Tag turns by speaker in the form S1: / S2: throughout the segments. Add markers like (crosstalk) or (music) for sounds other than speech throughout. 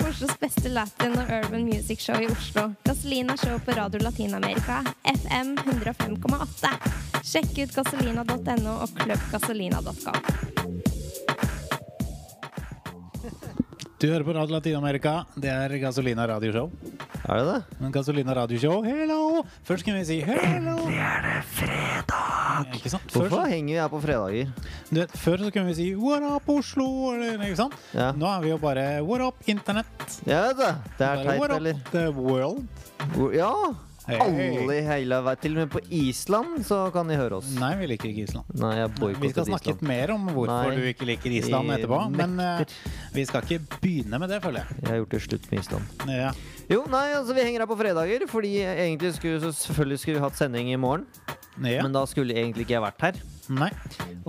S1: Oslos beste latin og urban music show i Oslo. Gasolina show på Radio Latin-Amerika, FM 105,8. Sjekk ut gasolina.no og klubbgasolina.com.
S2: Du hører på Radio Latin-Amerika. Det er Gasolina radioshow.
S3: Er det det?
S2: Men Gasolina radioshow, hello! Først kunne vi si hello! Endelig er det fredag! Ikke sant? Før,
S3: Hvorfor henger vi her på fredager?
S2: du vet, før så kunne vi si what up Oslo, eller ikke sant?
S3: Ja.
S2: Nå er vi jo bare what up internett.
S3: Jeg vet det! Det er
S2: Bare,
S3: teit,
S2: what
S3: eller?
S2: up the world.
S3: Hvor- Ja!
S2: Hey.
S3: Alle i hele verden. Til og med på Island så kan de høre oss.
S2: Nei, vi liker ikke Island.
S3: Nei, jeg
S2: Vi skal
S3: boikotter
S2: snakke
S3: Island.
S2: mer om hvorfor
S3: Nei.
S2: du ikke liker Island
S3: Vi
S2: etterpå. Men eh, vi skal ikke begynne med det, føler jeg.
S3: Jeg har gjort det slutt med Island.
S2: Ja.
S3: Jo, nei, altså vi henger her på fredager, fordi egentlig skulle, så selvfølgelig skulle vi hatt sending i morgen.
S2: Ja.
S3: Men da skulle egentlig ikke jeg vært her.
S2: Nei.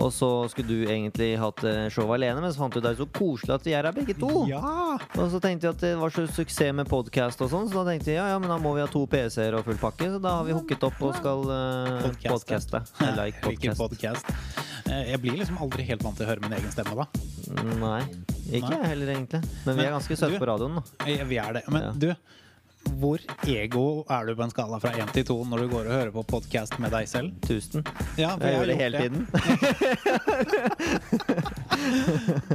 S3: Og så skulle du egentlig hatt eh, showet alene, men så fant du ut det er så koselig at vi er her begge to.
S2: Ja!
S3: Og så tenkte jeg at det var så suksess med podcast og sånn, så da tenkte jeg ja, ja, men da må vi ha to PC-er og full pakke, så da har vi hooket opp og skal uh,
S2: Podcaste. (laughs)
S3: podcaste. I like
S2: Hvilken
S3: podcast.
S2: podcast? Eh, Jeg blir liksom aldri helt vant til å høre min egen stemme, da.
S3: Nei, ikke
S2: Nei.
S3: jeg heller egentlig. Men vi er ganske søte
S2: du-
S3: på radioen, da.
S2: Eh, Vi er det. Men
S3: Ja.
S2: du, hvor ego er du på en skala fra 1 til 2 når du går og hører på podkast med deg selv?
S3: Tusen.
S2: Ja, for
S3: Jeg gjør det
S2: har
S3: hele
S2: gjort
S3: tiden.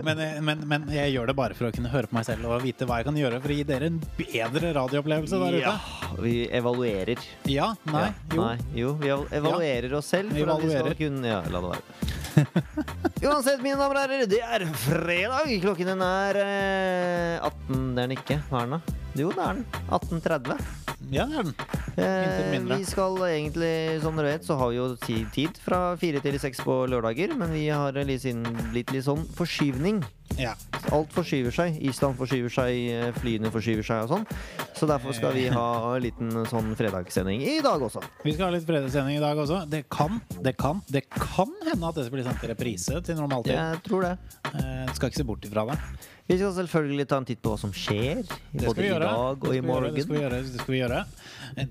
S2: Men, eh, men, men jeg gjør det bare for å kunne høre på meg selv og vite hva jeg kan gjøre for å gi dere en bedre radioopplevelse der
S3: Ja,
S2: ute.
S3: vi evaluerer.
S2: Ja, nei,
S3: ja.
S2: jo.
S3: Nei, jo. Vi eval- evaluerer oss selv.
S2: Vi
S3: for at vi skal
S2: evaluerer.
S3: kunne, ja, la det være. (laughs) Uansett, mine damer og herrer, det er fredag. Klokken den er eh, 18 Det er den ikke. Hva er den, da? Jo, det er den. 18.30.
S2: Ja, det er den. Intet
S3: Eh,
S2: mindre.
S3: vi skal egentlig, som dere vet, så har vi jo ti- tid fra fire til seks på lørdager. Men vi har litt, siden- litt, litt sånn forskyvning.
S2: Ja.
S3: Alt forskyver seg. Island forskyver seg, eh, flyene forskyver seg og sånn. Så derfor skal vi
S2: Eh.
S3: ha en liten sånn fredagssending i dag også.
S2: Vi skal ha litt fredagssending i dag også. Det kan, det kan, det kan hende at dette blir sendt i reprise til normaltid.
S3: Jeg tror det.
S2: Eh, skal ikke se bort ifra det.
S3: Vi skal selvfølgelig ta en titt på hva som skjer.
S2: Det skal
S3: Både
S2: vi
S3: i
S2: gjøre. Det
S3: dag og i
S2: skal vi gjøre, Det skal vi
S3: morgen.
S2: gjøre. Det skal vi gjøre.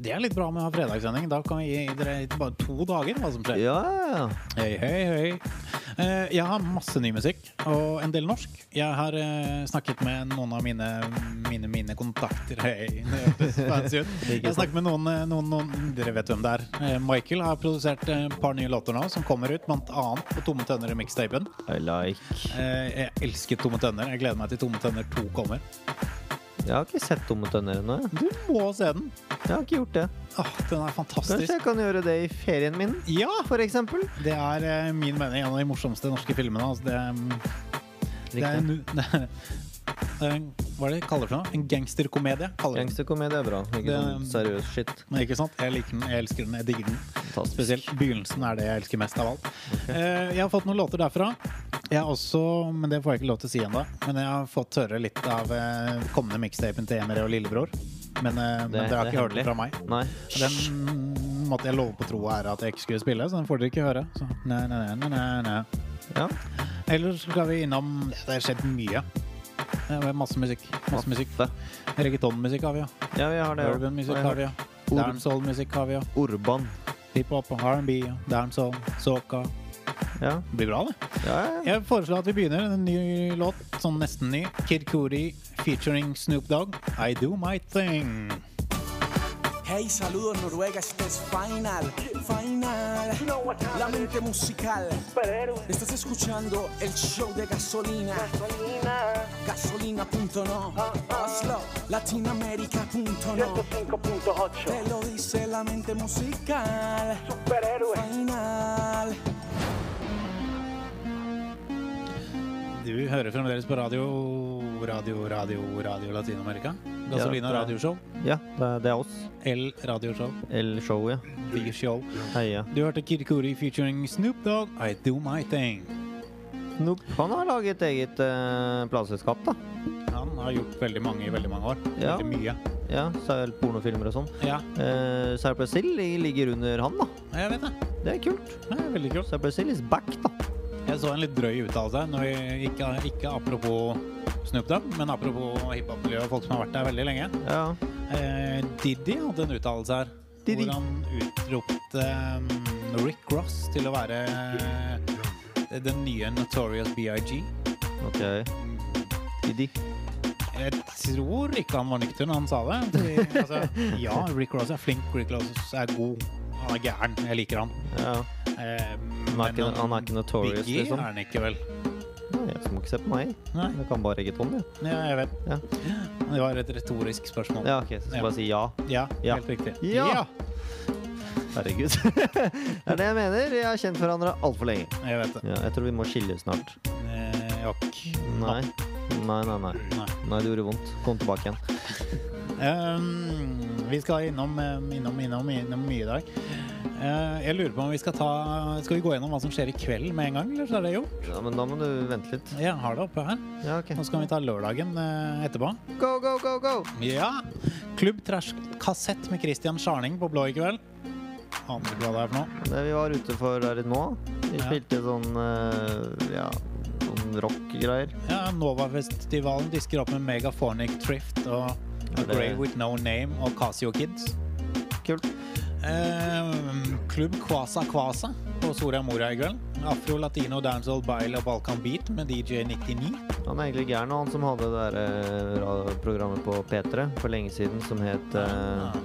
S2: Det er litt bra med å ha fredagssending. Da kan vi gi dere bare to dager hva som
S3: Ja,
S2: skjer.
S3: ja, ja.
S2: Hei, hei, hei. Eh, Jeg har masse ny musikk, og en del norsk. Jeg har eh, snakket med noen av mine, mine, mine kontakter. Hei, det høres fancy
S3: (laughs)
S2: ut. Jeg har snakket med noen, eh, noen, noen Dere vet hvem det er. Eh, Michael har produsert eh, et par nye låter nå, som kommer ut bl.a. på Tomme tønner i mixtapen.
S3: I like.
S2: Eh, Jeg elsker Tomme tønner. Jeg gleder meg til Tomme tønner 2 kommer.
S3: Jeg har ikke sett Tomme tønner ennå. jeg.
S2: Du må se den.
S3: Jeg har ikke gjort det.
S2: Åh, den er fantastisk.
S3: Kanskje jeg kan gjøre det i ferien min,
S2: Ja!
S3: for eksempel.
S2: Det er eh, min mening en av de morsomste norske filmene. Altså, det, er- det er
S3: Riktig.
S2: en, (laughs) det er, det er en, hva er det de kaller det for noe? En gangsterkomedie? kaller de den.
S3: Gangsterkomedie er bra. Ikke
S2: Det-
S3: sånn seriøs shit.
S2: Nei, Ikke sant? Jeg liker den, jeg elsker den, jeg digger den.
S3: Fantastisk.
S2: Spesielt begynnelsen er det jeg elsker mest av alt. Eh, Jeg har fått noen låter derfra. Jeg har også, men det får jeg ikke lov til å si ennå, men jeg har fått høre litt av eh, kommende mixtapen til Emre og lillebror. Men, eh, men dere har
S3: det
S2: ikke
S3: er
S2: hørt det fra meg.
S3: Nei.
S2: Og Den måtte jeg love på troa her at jeg ikke skulle spille, så den får dere ikke høre. Så, nei, nei, nei, nei, nei.
S3: Ja.
S2: Eller så skal vi innom Det har skjedd mye. Det er masse musikk. Masse musikk.
S3: Masse.
S2: Reggaetonmusikk har vi, ja.
S3: ja, vi har det. ja.
S2: Urban musikk
S3: Og jeg
S2: har vi, ja.
S3: Ur-
S2: Dancehall-musikk har vi, ja.
S3: har Urban.
S2: Hiphop, R&B, ja. dancehall, soca.
S3: Ja.
S2: Det blir bra, det.
S3: Ja, ja.
S2: Jeg foreslår at vi begynner en ny låt, sånn nesten ny. Kid Cudi featuring Snoop Dogg. I do my thing.
S4: Hey, saludos Noruega, este es Final, Final, la mente musical. Estás escuchando el show de gasolina, gasolina.no, Oslo, latinoamerica.no.
S5: 105.8
S4: Te lo dice la mente musical,
S5: Superhéroe
S4: Final.
S2: Du hører fremdeles på radio, radio, radio, radio Latin-Amerika. Gasolina
S3: Ja, det-
S2: radioshow.
S3: ja det, er, det er oss.
S2: L radioshow.
S3: L-show, ja.
S2: The show.
S3: Heia.
S2: Du hørte Kid Cudi featuring Snoop Dogg. I do my thing.
S3: Nope. Han har laget eget eh, plateselskap, da.
S2: Han har gjort veldig mange i veldig mange år.
S3: Ja.
S2: Veldig mye.
S3: Ja, så er det pornofilmer og sånn.
S2: Ja,
S3: Eh, Sarah Brazil ligger under han, da.
S2: jeg vet det.
S3: Det er kult.
S2: Det er veldig kult.
S3: Sarah Brazil is back, da.
S2: Jeg så en litt drøy uttalelse. Når vi ikke, ikke apropos Snoop Dogg, men apropos hiphop-miljøet og folk som har vært der veldig lenge.
S3: Ja.
S2: Eh, Diddy hadde en uttalelse her.
S3: Diddy.
S2: Hvor han utropte eh, Rick Ross til å være eh, den nye Notorious BIG.
S3: Ok. Didi.
S2: Et tror ikke han var nykter når han sa det. Fordi,
S3: (laughs)
S2: altså, ja, Rick Ross er flink, Rick Ross er god. Han er gæren. Jeg liker han.
S3: Ja.
S2: Eh,
S3: Han er ikke-
S2: men
S3: han er ikke notorious,
S2: Biggie
S3: liksom.
S2: er han ikke, vel.
S3: Nei, jeg må ikke se på meg.
S2: Nei.
S3: Jeg kan bare reggaeton, jeg.
S2: Ja, jeg vet.
S3: Ja.
S2: Det var et retorisk spørsmål.
S3: Ja, ok, så skal jeg bare si ja.
S2: Ja,
S3: Ja.
S2: helt riktig.
S3: Ja. Herregud. (laughs) det er det jeg mener. Vi har kjent hverandre altfor lenge.
S2: Ja, jeg vet det.
S3: Ja, jeg tror vi må skille snart.
S2: Eh, ok.
S3: Nei. Nei, nei, nei.
S2: Nei.
S3: Nei, det gjorde vondt. Kom tilbake igjen.
S2: Ehm, vi skal innom, eh, innom, innom, innom mye i dag. Eh, jeg lurer på om vi skal ta Skal vi gå gjennom hva som skjer i kveld med en gang? Eller så er det jo
S3: Ja, men da må du vente litt.
S2: Jeg har det oppe her.
S3: Ja, ok.
S2: Og så kan vi ta lørdagen eh, etterpå.
S3: Go, go, go, go!
S2: Ja! Klubb Trash Kassett med Christian Scharning på blå i kveld. Aner ikke hva det er for noe.
S3: Det vi var ute for der litt nå, vi
S2: Ja.
S3: spilte sånn eh, Ja, sånn rock-greier.
S2: Ja, Novafestivalen disker opp med Megaphonic Trift og A
S3: det-
S2: Grey With No Name og Casio Kids.
S3: Kult.
S2: Ehm, Klubb Kvasa Kvasa på Soria Moria i kveld. Afro, latino, dancehall, baile og balkan beat med DJ 99.
S3: Han er egentlig gæren, han som hadde det der eh, ra- programmet på P3 for lenge siden som het
S2: Ja,
S3: uh,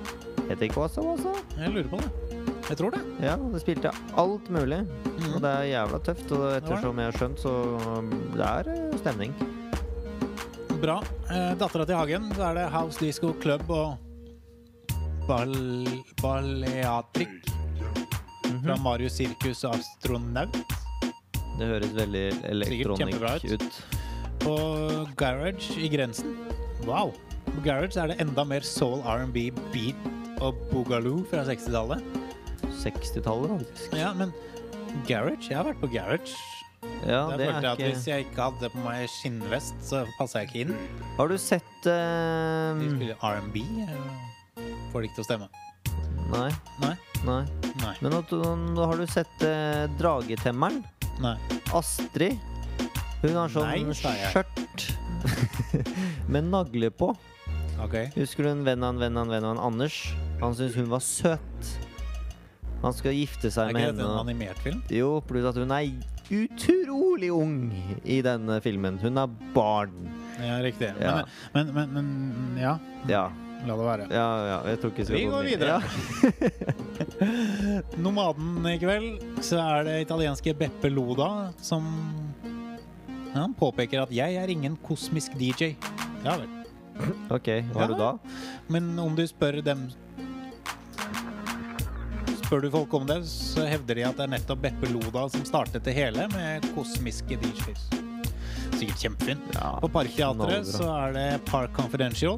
S3: Het ikke Wasa Wasa?
S2: jeg lurer på det. Jeg tror det.
S3: Ja, det spilte alt mulig.
S2: Mhm.
S3: Og det er jævla tøft. Og ettersom jeg har skjønt, så um, det er eh, stemning.
S2: Bra. Uh, Dattera til Hagen, så er det House Disco Club og bal Baleatric
S3: Mhm.
S2: fra Marius Sirkus og Astronaut.
S3: Det høres veldig
S2: kjempebra
S3: elektronikk
S2: ut.
S3: ut.
S2: På Garage i grensen. Wow. På Garage er det enda mer soul, R&B, beat og boogaloo fra 60-tallet.
S3: 60-tallet, faktisk.
S2: Ja, men garage? Jeg har vært på garage.
S3: Ja,
S2: Der
S3: det
S2: følte jeg
S3: er
S2: at hvis
S3: ikke
S2: jeg ikke hadde på meg skinnvest, så passa jeg ikke inn.
S3: Har du sett eh,
S2: De spiller R&B. eh, Får det ikke til å stemme.
S3: Nei.
S2: Nei.
S3: Nei.
S2: Nei.
S3: Men at du- nå har du sett eh, Dragetemmeren?
S2: Nei.
S3: Astrid. Hun har sånn
S2: Nei, sa jeg.
S3: skjørt (laughs) med nagler på.
S2: OK.
S3: Husker du en venn av en venn av en venn av en Anders? Han syntes hun var søt. Han skal gifte
S2: Er
S3: seg
S2: ikke
S3: med
S2: dette en
S3: henne.
S2: animert film?
S3: og- Jo, pluss at hun er utrolig ung i denne filmen. Hun er barn.
S2: Ja, riktig.
S3: Ja.
S2: Men, men, men, men ja.
S3: Ja,
S2: La det være.
S3: ja, ja. Jeg tror ikke skal
S2: Vi
S3: gå
S2: går
S3: mye-
S2: videre.
S3: Ja.
S2: Nomaden i kveld, så er det italienske Beppe Loda som ja, han påpeker at 'jeg er ingen kosmisk DJ'. Ja vel.
S3: Ok, hva har du da?
S2: Men om du spør dem Spør du folk om det, så hevder de at det er nettopp Beppe Loda som startet det hele med kosmiske DJs. Sikkert knallbra.
S3: Ja,
S2: På Parkteatret
S3: knallbra.
S2: så er det Park Confidential.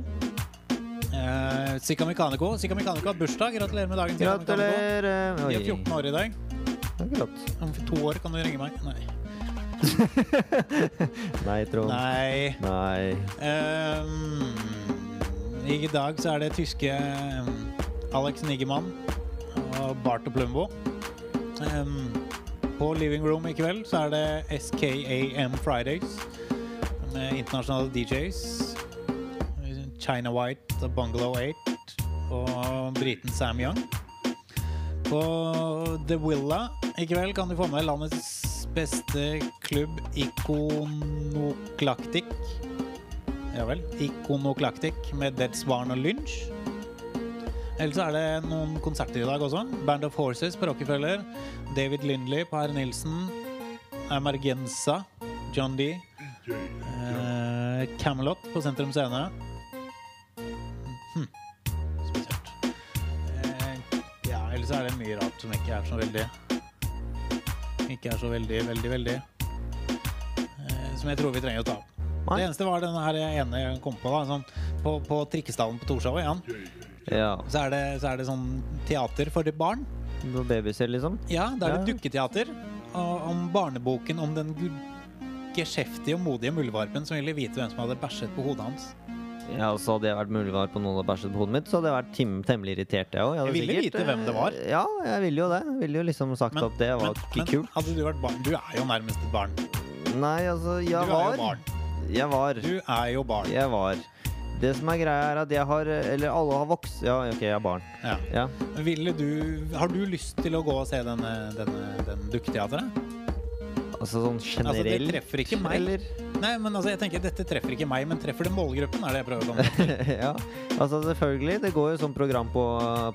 S2: Eh, Sika Mekanico Sika Mekanico har bursdag. Gratulerer med dagen. Sika Mekanico.
S3: Gratulerer.
S2: De er
S3: Oi,
S2: 14 år i dag.
S3: akkurat.
S2: Om to år kan du ringe meg. Nei.
S3: Nei, Trond. Nei.
S2: Nei.
S3: Nei.
S2: Ehm, I dag så er det tyske ehm, Alex Niggemann og Bart og Plumbo. Ehm, på Living Room i kveld så er det SKAM Fridays med internasjonale DJs. China White og Bungalow 8 og briten Sam Young. På The Villa i kveld kan du få med landets beste klubb, Ikonoklaktikk. Ja vel. Ikonoklaktikk med Dead Swan og Lynch. Ellers er det noen konserter i dag også. Band of Horses på Rockefeller. David Lindley på Herr Nilsen. Emergenza. John D. Eh, Camelot på Sentrum Scene. Hm. Spesielt. Eh, ja, ellers er det mye rart som ikke er så veldig Ikke er så veldig, veldig, veldig eh, Som jeg tror vi trenger å ta opp.
S3: Nei.
S2: Det eneste var denne her ene jeg kom på. Da, sånn, på, på trikkestallen på Torshov igjen,
S3: Ja.
S2: så, er det, så er det sånn teater for barn.
S3: Noe babycell, liksom?
S2: Ja, da er det
S3: Ja.
S2: dukketeater. Og om barneboken om den gu- geskjeftige og modige muldvarpen som ville vite hvem som hadde bæsjet på hodet hans.
S3: Ja, og så hadde jeg vært mulig var på noen og bæsjet på hodet mitt, så hadde jeg vært tim temmelig irritert, jeg òg.
S2: Jeg ville vite hvem det var.
S3: Ja, jeg ville jo det. Jeg ville jo liksom sagt at det var ikke kult.
S2: hadde du vært barn Du er jo nærmest et barn.
S3: Nei, altså, jeg
S2: du er jo
S3: var
S2: barn.
S3: Jeg var.
S2: Du er jo barn.
S3: Jeg var. Det som er greia, er at jeg har Eller alle har vokst Ja, OK, jeg er barn.
S2: Ja.
S3: Ja.
S2: Ville du, har du lyst til å gå og se denne, denne, den dukketeateret?
S3: Altså sånn
S2: Altså, det
S3: generelt.
S2: treffer ikke meg.
S3: Eller
S2: Nei, men altså, jeg tenker Dette treffer ikke meg, men treffer det målgruppen? er det jeg prøver å komme til.
S3: (laughs) ja, altså selvfølgelig. Det går jo sånn program på,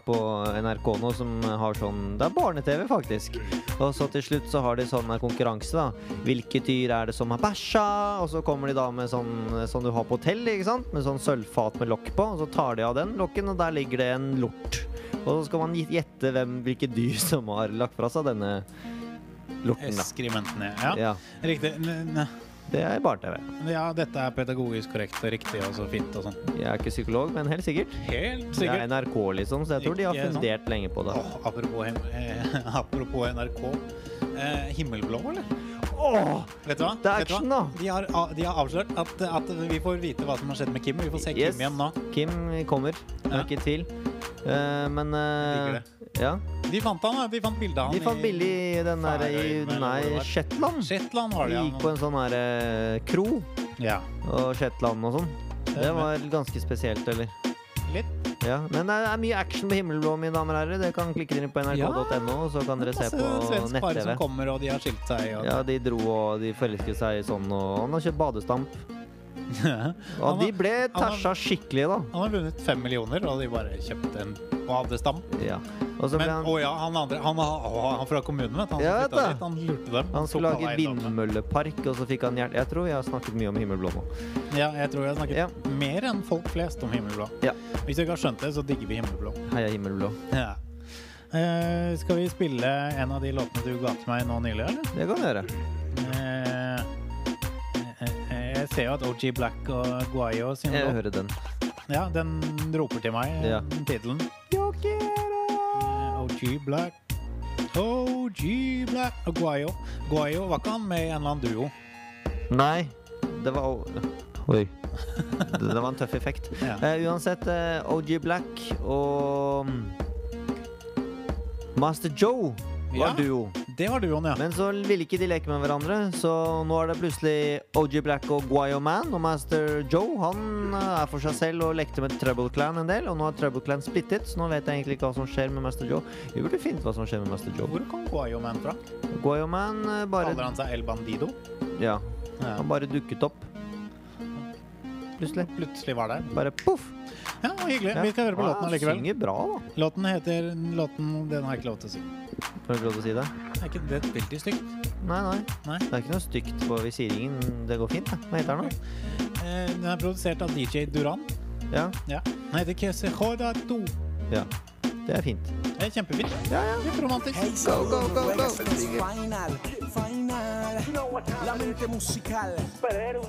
S3: på NRK nå som har sånn Det er barne-TV, faktisk. Og så til slutt så har de sånn her konkurranse, da. Hvilket dyr er det som har bæsja? Og så kommer de da med sånn som du har på hotell, ikke sant? Med sånn sølvfat med lokk på. Og så tar de av den lokken, og der ligger det en lort. Og så skal man gjette hvem, hvilke dyr som har lagt fra seg denne lorten, da.
S2: Eh, Skrimentene. Ja,
S3: Ja,
S2: riktig. N- n-
S3: det er barne-TV.
S2: Ja, dette er pedagogisk korrekt og riktig og så fint og sånn.
S3: Jeg er ikke psykolog, men helt sikkert.
S2: Helt
S3: Det er
S2: sikkert.
S3: NRK, liksom, så jeg tror de har
S2: Ikke sant?
S3: fundert lenge på det.
S2: Åh, apropos, him eh, (laughs) apropos NRK. Eh, himmelblå, eller?
S3: Åh!
S2: Vet du hva?
S3: Det er
S2: Vet du hva?
S3: action, da.
S2: De har, a- de har avslørt at, at vi får vite hva som har skjedd med Kim. og Vi får se
S3: Yes.
S2: Kim igjen nå.
S3: Kim kommer, det
S2: Ja.
S3: er ikke tvil. Eh, men eh,
S2: Digger
S3: ja.
S2: De fant han, da. De fant bildet av han
S3: De fant billig i den der i
S2: Færøyene, eller hvor det
S3: Nei,
S2: var. i
S3: Shetland.
S2: Shetland, var
S3: De
S2: det
S3: gikk på
S2: han.
S3: en sånn her eh, kro
S2: Ja.
S3: og Shetland og sånn. Det var ganske spesielt, eller?
S2: Litt.
S3: Ja, Men det er mye action på himmelblå, mine damer og herrer. Det kan klikke dere på
S2: Ja.
S3: nrk.no, og så kan dere se
S2: Masse
S3: på
S2: svensk par som
S3: nett-TV.
S2: kommer, og de har skilt seg. Og...
S3: Ja, de dro og de forelsket seg sånn, og han har
S2: (laughs)
S3: kjøpt badestamp.
S2: Han
S3: Og de
S2: har-
S3: ble
S2: han har-
S3: tæsja skikkelig, da.
S2: Han har vunnet fem millioner, og de bare kjøpte en badestam.
S3: Ja. Og så ble
S2: Men
S3: han
S2: å ja, han andre Han, å, han fra kommunen, vet du. Han, som flyttet
S3: Ja, vet du.
S2: dit, han lurte dem.
S3: Han skulle
S2: tok
S3: lage
S2: alle eiendommene.
S3: vindmøllepark, og så fikk han hjerte... Jeg tror jeg har snakket mye om himmelblå nå.
S2: Ja, jeg tror jeg snakket
S3: Ja.
S2: mer enn folk flest om himmelblå.
S3: Ja.
S2: Hvis du ikke har skjønt det, så digger vi himmelblå.
S3: Heia himmelblå.
S2: Ja. Eh, skal vi spille en av de låtene du ga til meg nå nylig, eller?
S3: Det kan vi gjøre.
S2: Eh, eh, eh, jeg ser jo at OG Black og Guayo sin
S3: Jeg
S2: låt
S3: hører den.
S2: Ja, den roper til meg,
S3: Ja.
S2: ja. tittelen. Eh, OG Black. OG Black og Guayo. Guayo var ikke han med i en eller annen duo?
S3: Nei, det var Oi. Det, det var en tøff effekt.
S2: (laughs) Ja.
S3: Eh, uansett, eh, OG Black og mm, Master Joe var
S2: Ja.
S3: duo.
S2: Det var duoen, ja.
S3: Men så ville ikke de leke med hverandre, så nå er det plutselig OG Black og Guayo Man. Og Master Joe han eh, er for seg selv og lekte med Trouble Clan en del. Og nå har Trouble Clan splittet, så nå vet jeg egentlig ikke hva som skjer med Master Joe. Vi burde finne ut hva som skjer med Master Joe.
S2: Hvor kom Guayo Man fra?
S3: Guayo Man eh,
S2: Kaller
S3: bare
S2: han seg El Bandido?
S3: Ja,
S2: Ja.
S3: han bare dukket opp. Plutselig.
S2: Plutselig var der.
S3: Bare poff!
S2: Ja, hyggelig. Vi skal høre på låten allikevel.
S3: likevel. Synger bra, da.
S2: Låten heter Låten Den har jeg ikke lov til å si.
S3: Får jeg ikke lov til å si det?
S2: Er ikke det veldig stygt?
S3: Nei, nei.
S2: Nei.
S3: Det er ikke noe stygt på vi sier ingen Det går fint, det. Hva heter den, da?
S2: Eh, den er produsert av DJ Duran.
S3: Ja.
S2: Ja. Den heter Kese Jordato.
S3: ja. Det er fint.
S2: Det er kjempefint.
S3: Ja, ja.
S2: Litt romantisk.
S4: Hey, saludos Noruega, esto es final, final. La mente musical.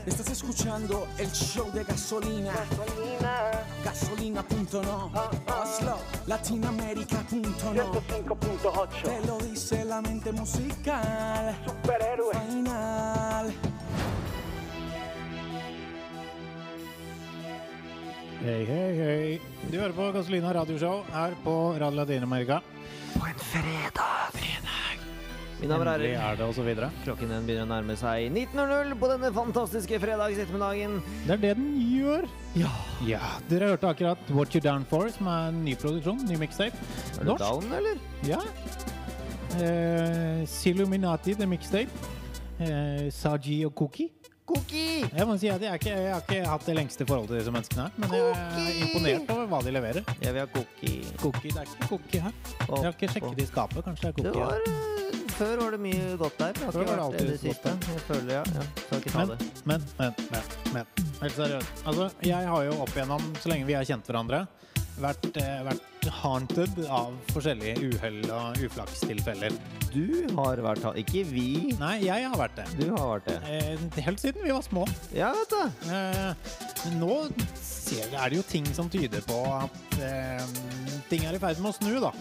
S4: Estás escuchando el show de gasolina. Gasolina. Gasolina.no. Oslo. Latinoamérica.no.
S5: 105.8
S4: Te lo dice la mente musical.
S5: Superhéroe
S4: Final.
S2: Hei, hei, hei. Du hører på Gasolina radioshow her på Radio Latin-Amerika.
S3: Mine damer og
S2: Endelig
S3: herrer.
S2: er det, og så videre.
S3: Klokken den begynner å nærme seg 19.00 på denne fantastiske fredagsettermiddagen.
S2: Det er det den gjør.
S3: Ja.
S2: Ja, Dere hørte akkurat What You Down For, som er en ny produksjon. Ny mixtape.
S3: Er du down, eller?
S2: Ja. Eh, Siluminati, the mixtape. Eh, Saji og Cookie.
S3: Cookie!
S2: Jeg må si at jeg, er ikke, jeg har ikke hatt det lengste forholdet til disse menneskene her, men jeg er
S3: Cookie!
S2: imponert over hva de leverer.
S3: Jeg vil ha cookie.
S2: Cookie, Det er ikke cookie her.
S3: Å,
S2: Jeg har ikke
S3: å.
S2: sjekket i skapet. Kanskje det er
S3: Det
S2: cookie.
S3: var
S2: her.
S3: eh, Før var det mye godt der. Jeg har
S2: Før var
S3: ikke
S2: det
S3: vært det i det
S2: alltid
S3: siste.
S2: godt
S3: Jeg føler, ja. ja. Skal ikke ta
S2: Men,
S3: det.
S2: men, men, men, men. Helt seriøst. Altså, jeg har jo opp igjennom, så lenge vi har kjent hverandre, vært, eh, vært haunted av forskjellige uhell og uflakstilfeller.
S3: Du har vært ha- Ikke vi.
S2: Nei, jeg har vært det.
S3: Du har vært det.
S2: Eh, helt siden vi var små.
S3: Ja, vet du.
S2: Eh, men nå ser, er det jo ting som tyder på at eh, ting er i ferd med å snu, da.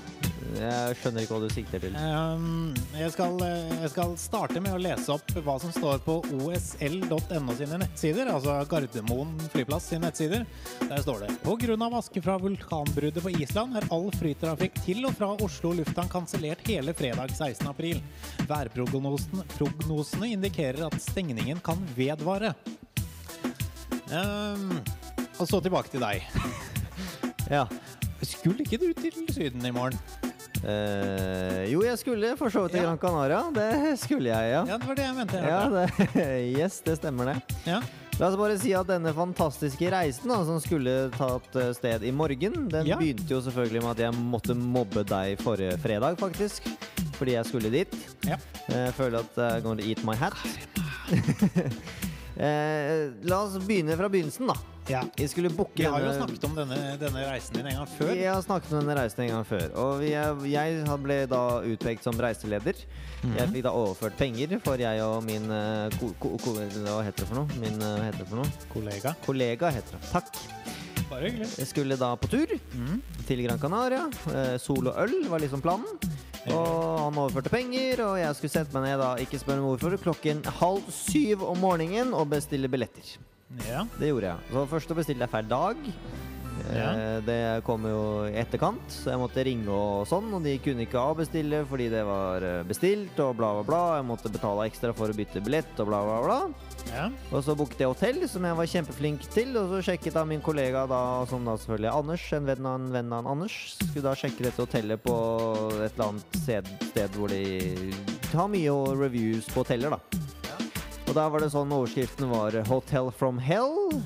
S3: Jeg skjønner ikke hva du sikter til.
S2: Um, jeg, skal, eh, jeg skal starte med å lese opp hva som står på osl.no sine nettsider, altså Gardermoen flyplass sine nettsider. Der står det Pga. aske fra vulkanbruddet på Island er all flytrafikk til og fra Oslo lufthavn kansellert hele fredag 16. april. Værprognosene prognosene indikerer at stengningen kan vedvare. Um, og så tilbake til deg.
S3: Ja.
S2: Skulle ikke du til Syden i morgen?
S3: Eh, jo, jeg skulle for så vidt til
S2: Ja.
S3: Gran Canaria. Det skulle jeg, ja.
S2: Ja, det var det jeg mente. jeg
S3: Ja,
S2: hørte.
S3: det, yes, det (laughs) stemmer det.
S2: Ja.
S3: La oss bare si at denne fantastiske reisen da, som skulle tatt eh, sted i morgen, den
S2: Ja.
S3: begynte jo selvfølgelig med at jeg måtte mobbe deg forrige fredag, faktisk. Fordi jeg skulle dit. Eh,
S2: Ja.
S3: Jeg føler at I'm gonna eat my hat. (laughs) Eh, La oss begynne fra begynnelsen, da.
S2: Ja.
S3: Vi skulle booke
S2: Vi har jo
S3: denne-
S2: snakket om denne, denne reisen din en gang før.
S3: vi har snakket om denne reisen en gang før. Og vi- jeg, jeg ble da utpekt som reiseleder.
S2: Mhm.
S3: Jeg fikk da overført penger for jeg og min eh, ko, ko, ko, Hva heter det for noe? Min, eh, hva heter det for noe?
S2: Kollega.
S3: Kollega heter det. Takk.
S2: Bare hyggelig.
S3: Jeg skulle da på tur til Gran Canaria. Eh, Sol og øl var liksom planen. Og han overførte penger, og jeg skulle sette meg ned da, ikke spør meg hvorfor, klokken halv syv om morgenen og bestille billetter.
S2: Ja.
S3: Det gjorde jeg. Så først å bestille deg per dag.
S2: Ja.
S3: Eh, Det kom jo i etterkant, så jeg måtte ringe og sånn. Og de kunne ikke avbestille fordi det var eh, bestilt og bla, bla, bla. Jeg måtte betale ekstra for å bytte billett og bla, bla, bla.
S2: ja.
S3: Og så booket jeg hotell, som jeg var kjempeflink til. Og så sjekket da min kollega, da, som da selvfølgelig er Anders, en venn av en venn av en Anders, skulle da sjekke dette hotellet på et eller annet sted, sted hvor de har mye reviews på hoteller, da. Og da var det sånn overskriften var Hotel from hell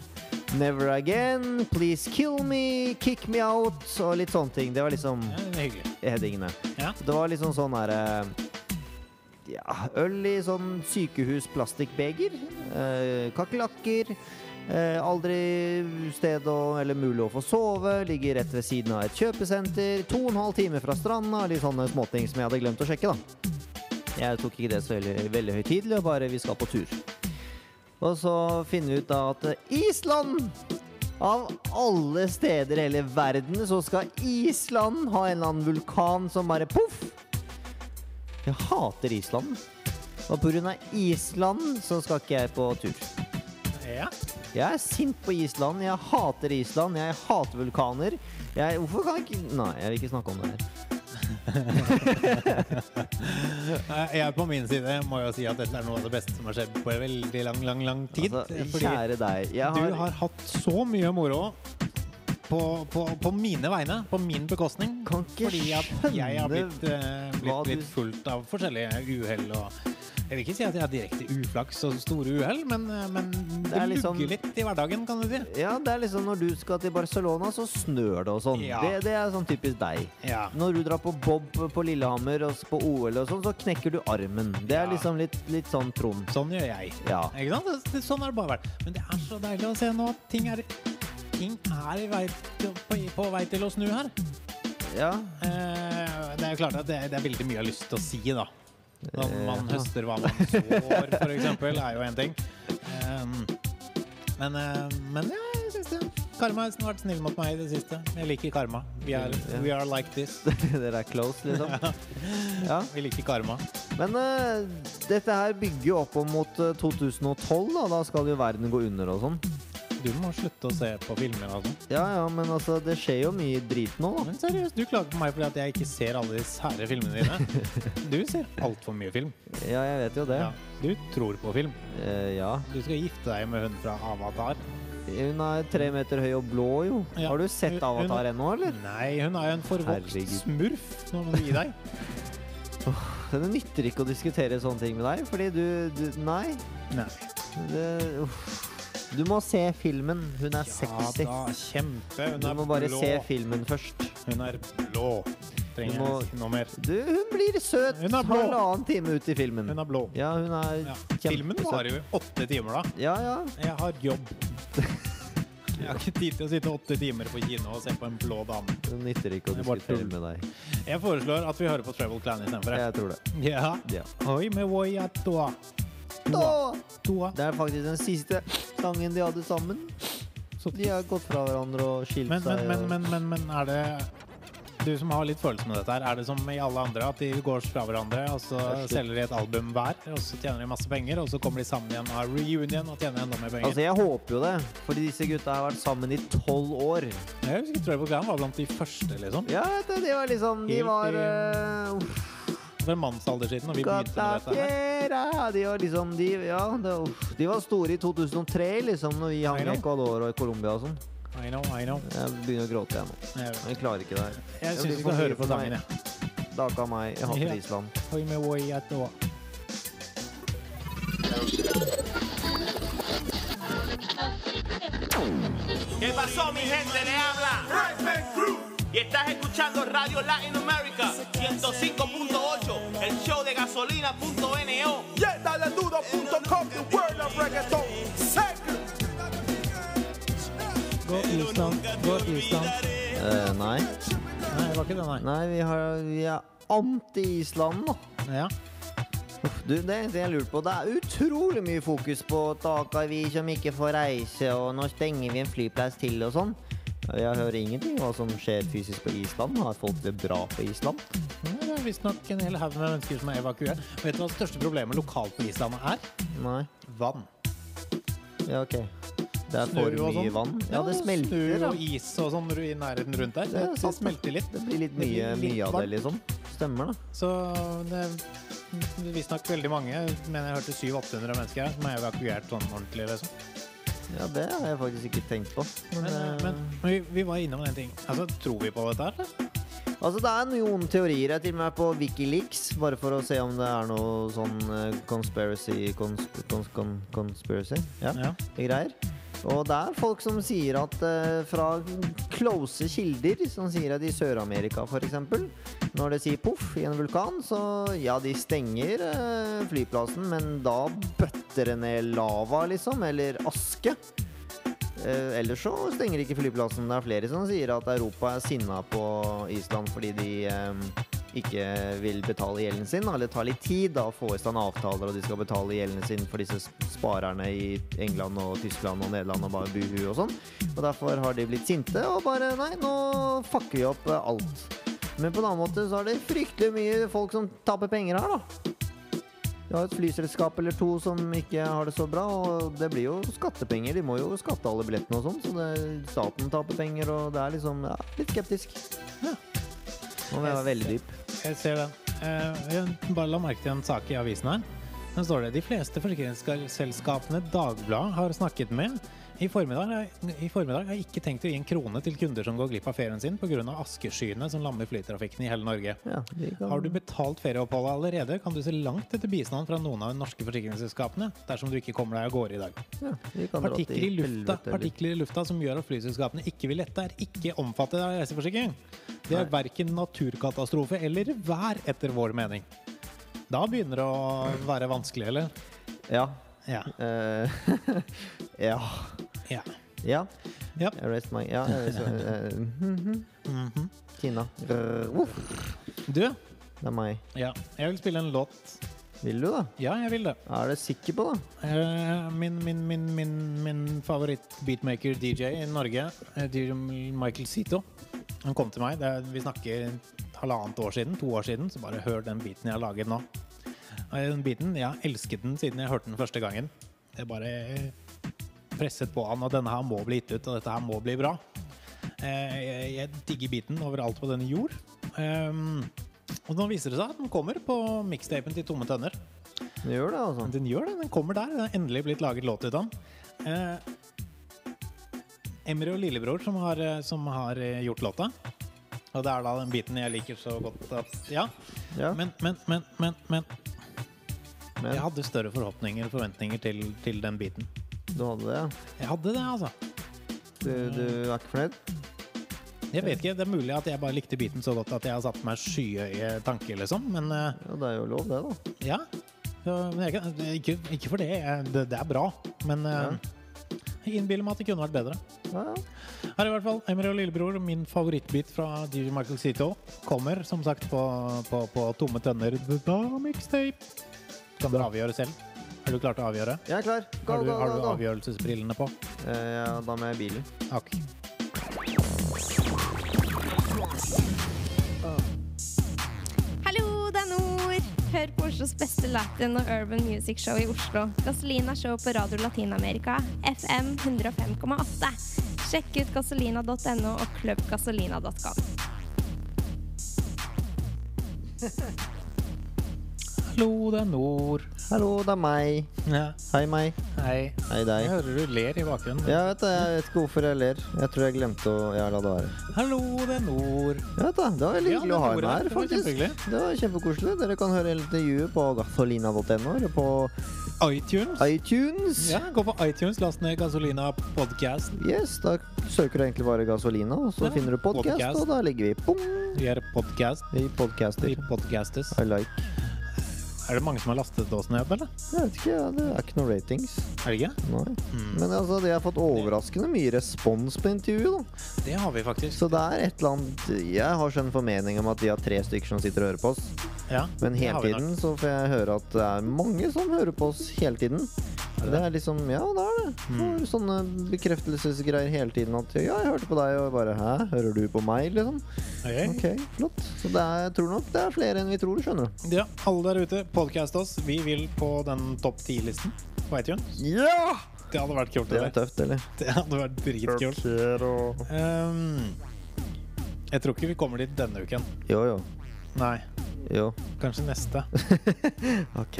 S3: Never again Please kill me Kick me out Og litt sånne ting Det var liksom
S2: ja det er hyggelig.
S3: headingene
S2: Ja.
S3: Det var liksom sånn her eh, Ja, øl i sånn sykehusplastikkbeger eh, Kakelakker eh, Aldri sted å, eller mulig å få sove Ligger rett ved siden av et kjøpesenter To og en halv time fra stranda Litt sånne småting som jeg hadde glemt å sjekke da jeg tok ikke det så veldig, veldig høytidelig, og bare vi skal på tur. Og så finner vi ut da at Island! Av alle steder i hele verden så skal Island ha en eller annen vulkan som bare poff! Jeg hater Island. Og pga. Island så skal ikke jeg på tur.
S2: Ja.
S3: Jeg er sint på Island. Jeg hater Island. Jeg hater vulkaner. Jeg, hvorfor kan jeg ikke Nei, jeg vil ikke snakke om det her.
S2: Eh, Jeg på min side må jo si at dette er noe av det beste som har skjedd på veldig lang, lang, lang tid.
S3: Altså,
S2: fordi
S3: kjære deg. Jeg
S2: du har hatt så mye moro på, på, på mine vegne, på min bekostning.
S3: Kan ikke
S2: fordi at jeg har blitt, eh,
S3: hva
S2: blitt
S3: du-
S2: litt fullt av forskjellige uhell og Jeg vil ikke si at jeg har direkte uflaks og store uhell, men, eh, men det,
S3: er
S2: lugger
S3: liksom-
S2: litt i hverdagen, kan du si.
S3: Ja, det er liksom når du skal til Barcelona, så snør det og sånn.
S2: Ja.
S3: Det, det er sånn typisk deg.
S2: Ja.
S3: Når du drar på bob på Lillehammer og s- på OL og sånn, så knekker du armen. Det er
S2: Ja.
S3: liksom litt, litt sånn Trond.
S2: Sånn gjør jeg.
S3: Ja.
S2: Ikke sant? Det- Det, sånn har det bare vært. Men det er så deilig å se nå at ting er, ting er i vei til, på, på vei til å snu her.
S3: Ja. (laughs)
S2: Eh, det er jo klart at det, det er veldig mye jeg har lyst til å si, da. Når man
S3: Eh, Ja.
S2: høster hva man sår, for eksempel, er jo en ting. Um, men, eh, men ja, jeg synes det. Karma har vært snill mot meg i det siste. Jeg liker karma. We are, we are like this.
S3: Dere er close,
S2: (laughs)
S3: liksom. Ja.
S2: Vi liker karma.
S3: Men eh, dette her bygger jo opp om mot eh, 2012, da. Da skal jo verden gå under og sånn.
S2: Du må slutte å se på filmer, altså.
S3: Ja ja, men altså, det skjer jo mye drit nå, da.
S2: Men seriøst, du klager på meg fordi at jeg ikke ser alle de sære filmene dine. Du ser altfor mye film.
S3: Ja, jeg vet jo det.
S2: Ja. Du tror på film.
S3: Eh, ja.
S2: Du skal gifte deg med hun fra Avatar.
S3: Hun er tre meter høy og blå, jo.
S2: Ja.
S3: Har du sett
S2: Hun- hun-
S3: Avatar ennå, eller?
S2: Nei, hun er jo en forvokst
S3: Herregud.
S2: smurf. Nå må du gi deg.
S3: Det nytter ikke å diskutere sånne ting med deg, fordi du, du (laughs) Nei.
S2: Nei.
S3: Det, uff. Du må se filmen. Hun er
S2: Ja
S3: sexy.
S2: da, kjempe. Hun
S3: Du
S2: er
S3: må bare
S2: blå.
S3: se filmen først.
S2: Hun er blå. Trenger
S3: Du må-
S2: jeg si noe mer?
S3: Du, hun blir søt
S2: Hun er blå.
S3: halvannen time ut i filmen.
S2: Hun er blå.
S3: Ja, hun er
S2: Ja.
S3: kjempesøt.
S2: Filmen varer jo i åtte timer, da.
S3: Ja, ja.
S2: Jeg har
S3: (laughs)
S2: jobb. Jeg har ikke tid til å sitte åtte timer på kino og se på en blå dame.
S3: Det nytter ikke å
S2: Det er bare
S3: diskutere
S2: tull.
S3: med deg.
S2: Jeg foreslår at vi hører på Travel Clan istedenfor.
S3: Jeg tror det.
S2: Ja.
S3: Ja.
S2: Oi, me voy a toa.
S3: Å,
S2: Toa.
S3: Det er faktisk den siste sangen de hadde sammen.
S2: Så-
S3: De har gått fra hverandre og skilt
S2: Men, men,
S3: seg.
S2: men,
S3: og-
S2: men, men, men er det Du som har litt følelse med dette her, er det som i alle andre at de går fra hverandre, og så
S3: Det er slutt.
S2: selger de et album hver, og så tjener de masse penger, og så kommer de sammen igjen og har reunion og tjener enda mer penger?
S3: Altså, jeg håper jo det, fordi disse gutta har vært sammen i tolv år.
S2: jeg husker Travel Clan var blant de første, liksom.
S3: Ja, vet du, de var liksom De
S2: Helt
S3: var
S2: i-
S3: eh, uff,
S2: For en mannsalder siden, og vi begynte med
S3: gata
S2: dette her.
S3: fjera. De var liksom de, Ja, det, uff, de var store i 2003, liksom, når vi hang
S2: I know.
S3: i Ecuador og i Colombia og sånn.
S2: I know, I know.
S3: Jeg begynner å gråte, jeg nå.
S2: Jeg,
S3: Jeg klarer ikke det her.
S2: jeg
S3: blir
S2: syns vi skal
S3: for mye
S2: høre på
S3: for meg.
S2: sangen, jeg.
S3: Dag av meg. Jeg
S2: Ja.
S3: hater Island.
S2: Oi, med voi at det var.
S5: ¿Qué pasó, mi gente? Le habla. Y estás escuchando Radio Latin America 105.8, el show de gasolina.no.
S2: Gå Island, gå Island.
S3: Eh, nei.
S2: Nei, det var ikke det, nei.
S3: Nei, vi, har, vi er anti-Island nå.
S2: Ja.
S3: Du, det er en ting jeg lurer på. Det er utrolig mye fokus på taker vi som ikke får reise, og nå stenger vi en flyplass til og sånn. Jeg hører ingenting om hva som skjer fysisk på Island. Har folk det bra på Island?
S2: Nei, Det er visstnok en hel haug med mennesker som er evakuert. Vet du hva det største problemet lokalt på Island er?
S3: Nei.
S2: Vann.
S3: Ja, ok. Det er for
S2: Snø og
S3: mye
S2: sånn.
S3: vann. Ja, det
S2: og
S3: smelter.
S2: Snø
S3: da.
S2: og is og sånn i nærheten rundt der. Det,
S3: Ja,
S2: det
S3: sant.
S2: smelter litt.
S3: Det blir litt mye,
S2: blir litt
S3: mye av det,
S2: varmt.
S3: liksom. Stemmer, da.
S2: Så det er visstnok veldig mange, men jeg hørte 700-800 mennesker her som er evakuert sånn ordentlig. liksom.
S3: Ja, det har jeg faktisk ikke tenkt på. Men,
S2: Men,
S3: eh,
S2: men, men vi, vi var innom en ting. Altså, Tror vi på dette her? eller?
S3: Altså, det er noen teorier jeg til og med er på Wikileaks, bare for å se om det er noe sånn eh, conspiracy consp cons con Conspiracy? Ja,
S2: Ja.
S3: greier. Og det er folk som sier at eh, fra close kilder, som sier at i Sør-Amerika f.eks., når det sier poff i en vulkan, så ja, de stenger eh, flyplassen, men da bøtter det ned lava, liksom, eller aske. Eh, ellers så stenger ikke flyplassen. Det er flere som sier at Europa er sinna på Island fordi de eh, ikke vil betale gjelden sin. da, Eller tar litt tid da, å få i stand avtaler, og de skal betale gjelden sin for disse sparerne i England og Tyskland og Nederland og bare buhu og sånn. Og derfor har de blitt sinte og bare Nei, nå fucker vi opp eh, alt. Men på en annen måte så er det fryktelig mye folk som taper penger her, da. Du har et flyselskap eller to som ikke har det så bra, og det blir jo skattepenger. De må jo skatte alle billettene og sånn, så det, staten taper penger, og det er liksom ja, litt skeptisk.
S2: Ja.
S3: Nå må jeg være veldig dyp.
S2: Jeg ser den. Eh, jeg bare la merke til en sak i avisen her. Der står det de fleste forsikringsselskapene Dagbladet har snakket med i formiddag, i formiddag har ikke tenkt å gi en krone til kunder som går glipp av ferien sin pga. askeskyene som lammer flytrafikken i hele Norge.
S3: Ja, vi kan-
S2: Har du betalt ferieoppholdet allerede, kan du se langt etter bistand fra noen av de norske forsikringsselskapene dersom du ikke kommer deg av gårde i dag.
S3: ja, vi kan dra til
S2: Partikler i, lufta,
S3: helvete, eller-
S2: partikler i lufta som gjør at flyselskapene ikke vil lette, er ikke omfattet av reiseforsikring. Det er verken naturkatastrofe eller vær, etter vår mening. Da begynner det å være vanskelig, eller?
S3: Ja.
S2: Ja.
S3: eh, (laughs) ja.
S2: ja.
S3: Ja.
S2: Ja.
S3: I Rest my Ja. jeg- så,
S2: (laughs)
S3: eh, mhm. Tina. Rrr, uff,
S2: Du,
S3: det er meg.
S2: ja. jeg vil spille en låt.
S3: Vil du, da?
S2: Ja, jeg vil det.
S3: Er du sikker på det?
S2: Eh, Min, min, min, min, min favoritt-beatmaker-DJ i Norge, eh, DJ Michael Sito, han kom til meg. Det er, vi snakker halvannet år siden, to år siden, så bare hør den beaten jeg har laget nå. Og Den beaten, Jeg har elsket den siden jeg hørte den første gangen. Jeg bare presset på han, og denne her må bli gitt ut, og dette her må bli bra. Eh, Jeg, jeg digger beaten overalt på denne jord. Um, og nå viser det seg at den kommer på mixtapen til Tomme tønner.
S3: Du gjør det, altså?
S2: Den gjør det. Den kommer der. Det er endelig blitt laget låt ut av den. Eh, Emry og lillebror som har, eh, som har eh, gjort låta. Og det er da den biten jeg liker så godt at Ja.
S3: Ja.
S2: Men, men, men, men, men.
S3: Men-
S2: Jeg hadde større forhåpninger og forventninger til, til den biten.
S3: Du hadde det, ja?
S2: Jeg hadde det, altså.
S3: Du, du er ikke fornøyd?
S2: Jeg vet ikke, Det er mulig at jeg bare likte biten så godt at jeg har satt meg skyhøye tanker, liksom. Men eh,
S3: Ja, det er jo lov, det, da.
S2: Ja. Så, men jeg kan, ikke, ikke for det. jeg- Det, det er bra. Men eh, jeg innbiller meg at det kunne vært bedre.
S3: Ja, ja.
S2: Her er i hvert fall Emry og lillebror, min favorittbit fra DJ Michael Sito, kommer som sagt på, på, på Tomme tønner Da mixtape. Kan dere avgjøre selv? Har du klart å avgjøre?
S3: Jeg er klar. Go,
S2: Har du,
S3: go,
S2: har
S3: go,
S2: du
S3: go.
S2: avgjørelsesbrillene på?
S3: Eh, ja, da må jeg i bilen.
S2: Ok.
S1: Hallo, det er Nord! Hør på Oslos beste latin og urban music show i Oslo. Gasolina show på Radio Latin-Amerika, FM 105,8. Sjekk ut gasolina.no og klubbgasolina.com.
S2: Hallo, det er Nord.
S3: Hallo, det er meg.
S2: Ja.
S3: Hei, meg.
S2: Hei.
S3: Hei,
S2: Jeg
S3: deg.
S2: hører du ler i bakgrunnen.
S3: Jeg vet det, jeg vet ikke hvorfor jeg ler. Jeg tror jeg glemte å ja, la det være.
S2: Hallo, det er Nord.
S3: Ja, vet du, det var veldig
S2: Ja,
S3: hyggelig å
S2: det
S3: ha
S2: gjorde det.
S3: henne her,
S2: Det var
S3: faktisk.
S2: kjempehyggelig.
S3: Det var kjempekoselig. Dere kan høre hele intervjuet på gasolina.no eller på
S2: iTunes.
S3: iTunes.
S2: Ja, Gå på iTunes, last ned Gasolina podcast.
S3: Yes, da søker du egentlig bare Gasolina, og så
S2: Ja,
S3: finner du podcast,
S2: podcast.
S3: og da ligger vi pum,
S2: Vi er podcast.
S3: i
S2: Vi
S3: podcaster.
S2: podcastes.
S3: I like.
S2: Er det mange som har lastet oss ned, eller?
S3: Jeg vet ikke, ja, det er ikke noen ratings.
S2: Er det ikke?
S3: Nei. Men altså, de har fått overraskende mye respons på intervjuet, da.
S2: Det har vi faktisk.
S3: Så det er et eller annet Jeg har skjønn formening om at de har tre stykker som sitter og hører på oss.
S2: Ja,
S3: Men
S2: det
S3: hele
S2: har vi nok.
S3: tiden så får jeg høre at det er mange som hører på oss hele tiden. Det er liksom Ja, det er det. Får Sånne bekreftelsesgreier hele tiden. At ja, jeg hørte på deg, og bare hæ, hører du på meg, liksom?
S2: Ok.
S3: Ok, flott. Så det er, jeg tror nok det er flere enn vi tror, skjønner du.
S2: Ja, alle der ute, podcast oss. Vi vil på den topp 10-listen på iTunes.
S3: Ja!
S2: Det hadde vært kult. Det,
S3: Det var tøft, eller?
S2: det hadde vært dritkult. Ehm, jeg tror ikke vi kommer dit denne uken.
S3: Jo, jo.
S2: Nei,
S3: Jo.
S2: kanskje neste.
S3: OK.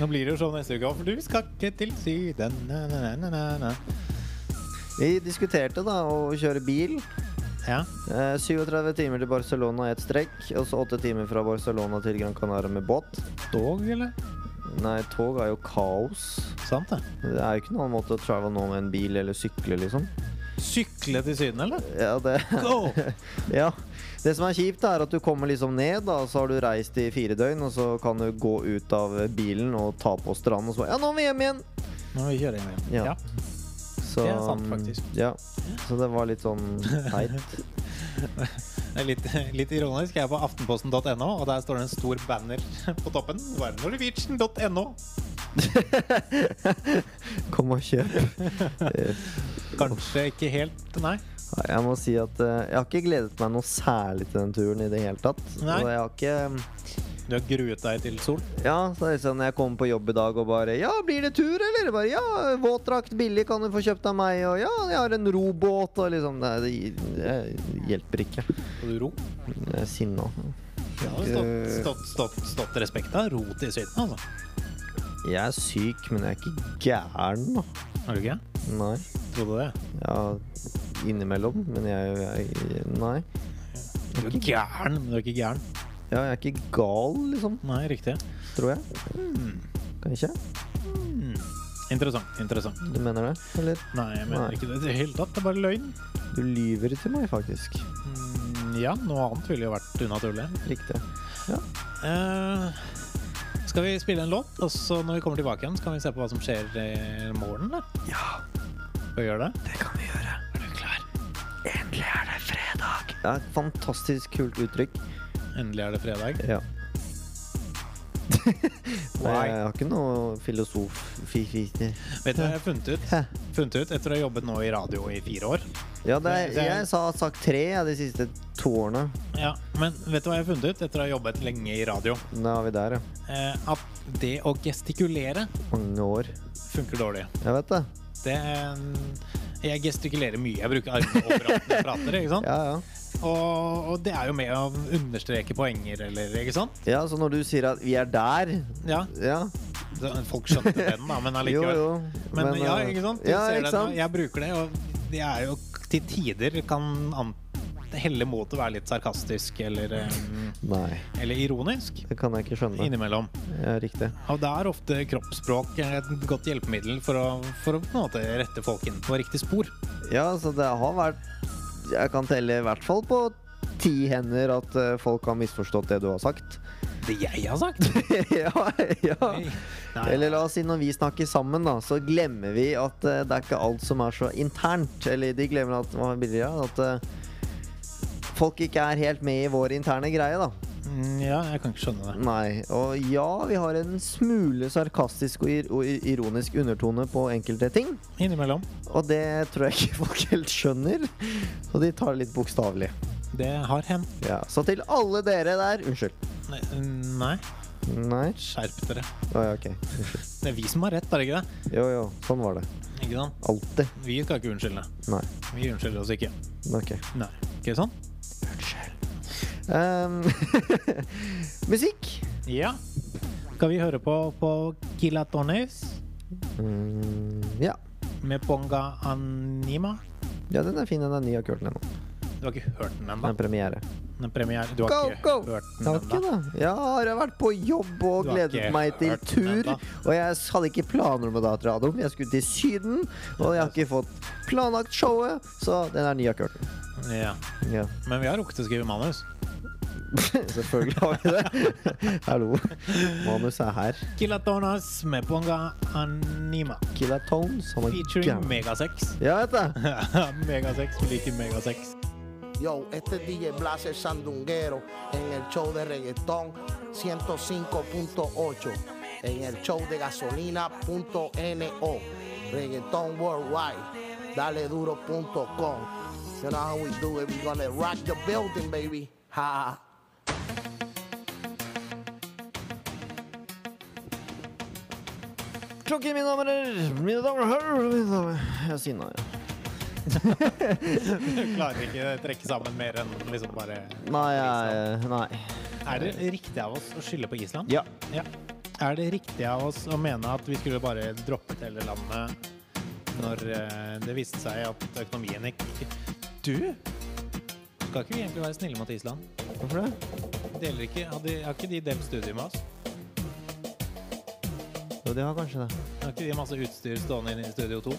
S2: Nå blir det jo sånn neste uke òg, for du skal ikke til Syden. Na, na, na, na, na.
S3: Vi diskuterte da å kjøre bil.
S2: Ja.
S3: Eh, 37 timer til Barcelona i ett strekk. Og så 8 timer fra Barcelona til Gran Canaria med båt.
S2: Dog, eller?
S3: Nei, tog er jo kaos.
S2: Sant, det.
S3: Det er jo ikke noen annen måte å travel nå med en bil eller sykle, liksom.
S2: Sykle til Syden, eller?
S3: Ja, det, (laughs)
S2: Go!
S3: ja. det som er kjipt, er at du kommer liksom ned, da, så har du reist i fire døgn, og så kan du gå ut av bilen og ta på stranden, og så bare Ja, nå må vi hjem igjen!
S2: Nå må vi kjøre hjem igjen.
S3: Ja.
S2: Ja.
S3: Så,
S2: Det er sant, faktisk.
S3: Ja. Så det var litt sånn teit.
S2: (laughs) Det er litt, (laughs) litt ironisk. Jeg er på aftenposten.no, og der står det en stor banner (laughs) på toppen. Bare Norwegian.no.
S3: Kom og kjøp. Eh,
S2: Kanskje ikke helt, nei.
S3: Nei, Jeg må si at eh, jeg har ikke gledet meg noe særlig til den turen i det hele tatt.
S2: Nei.
S3: Og jeg har ikke mm,
S2: Du har gruet deg til sol?
S3: Ja, så er det sånn jeg kommer på jobb i dag og bare Ja, blir det tur, eller? Jeg Bare, ja, våtdrakt billig kan du få kjøpt av meg, og ja, jeg har en robåt, og liksom Nei, det, det hjelper ikke.
S2: Skal du ro?
S3: Jeg er sinna.
S2: Ja, det har stått, stått, stått, stått respekt av ro til Syden, altså.
S3: Jeg er syk, men jeg er ikke gæren, da.
S2: Er du ikke?
S3: Nei.
S2: Trodde det.
S3: Ja, innimellom, men jeg, jeg Nei.
S2: Du er gæren, men du er ikke gæren.
S3: Ja, jeg er ikke gal, liksom,
S2: Nei, riktig.
S3: tror jeg. Kanskje?
S2: Interessant. interessant.
S3: Du mener det? Eller?
S2: Nei, jeg mener
S3: Nei.
S2: ikke det i det hele tatt. Det er bare løgn.
S3: Du lyver til meg, faktisk.
S2: Mm, Ja, noe annet ville jo vært unaturlig.
S3: Riktig.
S2: Eh, skal vi spille en låt, og så når vi kommer tilbake igjen, så kan vi se på hva som skjer i morgen? da? Ja. Skal vi gjøre det? Det kan vi gjøre. Er du klar?
S3: Det er et fantastisk kult uttrykk.
S2: Endelig er det fredag.
S3: Ja. (laughs) Nei,
S2: Why?
S3: jeg har ikke noe filosof... Fi, fi, fi.
S2: Vet du hva jeg har funnet ut?
S3: Hæ?
S2: Funnet ut Etter å ha jobbet nå i radio i fire år.
S3: Ja, det
S2: Det-
S3: er,
S2: det er-
S3: jeg sa, har sagt tre ja, de siste to årene.
S2: Ja, Men vet du hva jeg har funnet ut etter å ha jobbet lenge i radio?
S3: Da er vi der, ja.
S2: Eh, at det å gestikulere
S3: Mange år.
S2: funker dårlig.
S3: Jeg vet det.
S2: Det jeg gestikulerer mye. Jeg bruker armene overalt når jeg prater. ikke (laughs) sant?
S3: Ja, ja.
S2: Og, og det er jo med å understreke poenger, eller ikke sant?
S3: Ja, Så når du sier at 'vi er der'
S2: Ja,
S3: Ja,
S2: Så Folk skjønte den, da, men
S3: (laughs) jo,
S2: allikevel.
S3: jo.
S2: Men, ja,
S3: eh,
S2: ikke sant? Du
S3: Ja,
S2: ser det
S3: ikke
S2: nå.
S3: sant?
S2: Jeg bruker det, og det er jo til tider kan an helle mot å være litt sarkastisk eller, eh,
S3: Nei,
S2: eller ironisk
S3: det kan jeg ikke skjønne.
S2: innimellom.
S3: Ja, riktig.
S2: Og det er ofte kroppsspråk et godt hjelpemiddel for å, for å på en måte rette folk inn på riktig spor.
S3: Ja, så det har vært Jeg kan telle i hvert fall på ti hender at eh, folk har misforstått det du har sagt. (laughs)
S2: Det jeg har sagt!
S3: ja, ja.
S2: Nei.
S3: Eller la oss si når vi snakker sammen, da, så glemmer vi at eh, det er ikke alt som er så internt. Eller de glemmer at, hva blir det, ja, at eh, folk ikke er helt med i vår interne greie, da.
S2: Mm, Ja, jeg kan ikke skjønne det.
S3: Nei. Og ja, vi har en smule sarkastisk og, ir og i- ironisk undertone på enkelte ting.
S2: Innimellom.
S3: Og det tror jeg ikke folk (laughs) helt skjønner. Og de tar det litt bokstavelig.
S2: Det har hendt.
S3: Ja. Så til alle dere der Unnskyld.
S2: Nei, Nei,
S3: Nei?
S2: skjerp dere.
S3: Å ja, OK. Unnskyld.
S2: Det er vi som har rett, er det ikke det?
S3: Jo, jo. Sånn var det.
S2: Ikke sant?
S3: Alltid.
S2: Vi skal ikke unnskylde.
S3: Nei.
S2: Vi unnskylder oss ikke.
S3: OK.
S2: Nei. Ikke sånn?
S3: Ehm, (laughs) musikk.
S2: Ja. Skal vi høre på, på Kilatones
S3: Mm, ja.
S2: med Ponga Anima?
S3: ja, den er fin. Den er ny og kul ennå.
S2: Du har ikke hørt den
S3: Den
S2: ennå?
S3: er premiere.
S2: Den er premiere. Du har
S3: Go,
S2: ikke
S3: go!
S2: hørt den
S3: Takk,
S2: ennå?
S3: da. Ja, har jeg vært på jobb og
S2: Du har
S3: gledet
S2: ikke
S3: meg til
S2: hørt den
S3: tur.
S2: enda.
S3: Og jeg hadde ikke planer om å dra til radioen. Jeg skulle til Syden, og jeg har ikke fått planlagt showet, så den er ny og kul.
S2: Ja.
S3: Ja. (laughs)
S2: Men vi har rukket å skrive manus.
S3: Selvfølgelig har vi det. (laughs) Hallo. Manus er her.
S2: Kilatones med Ponga Anima.
S3: Killer Tones. Han er
S2: Featuring
S3: gæren.
S2: Megasex. (laughs)
S3: Ja, vet du.
S2: Megasex, vi liker Megasex.
S6: Yo, este es DJ Blas el Sandunguero en el show de reggaetón 105.8, en el show de gasolina.no, reggaetón worldwide, daleduro.com. You know how we do it, we gonna rock the building, baby. Ha, ha.
S3: Klokken, mine damer og herrer. Mine damer og herrer. Mine damer. Jeg er sinna, ja.
S2: Klarer ikke trekke sammen mer enn liksom bare
S3: Nei, jeg, nei.
S2: Er det riktig av oss å skylde på Island?
S3: Ja.
S2: Ja. Er det riktig av oss å mene at vi skulle bare droppet hele landet når eh, det viste seg at økonomien ikke Du! Skal ikke vi egentlig være snille mot Island?
S3: Hvorfor det?
S2: Deler ikke, har, de, har ikke de delt studier med oss?
S3: Jo, de har kanskje det.
S2: Har ikke de masse utstyr stående inne i Studio 2?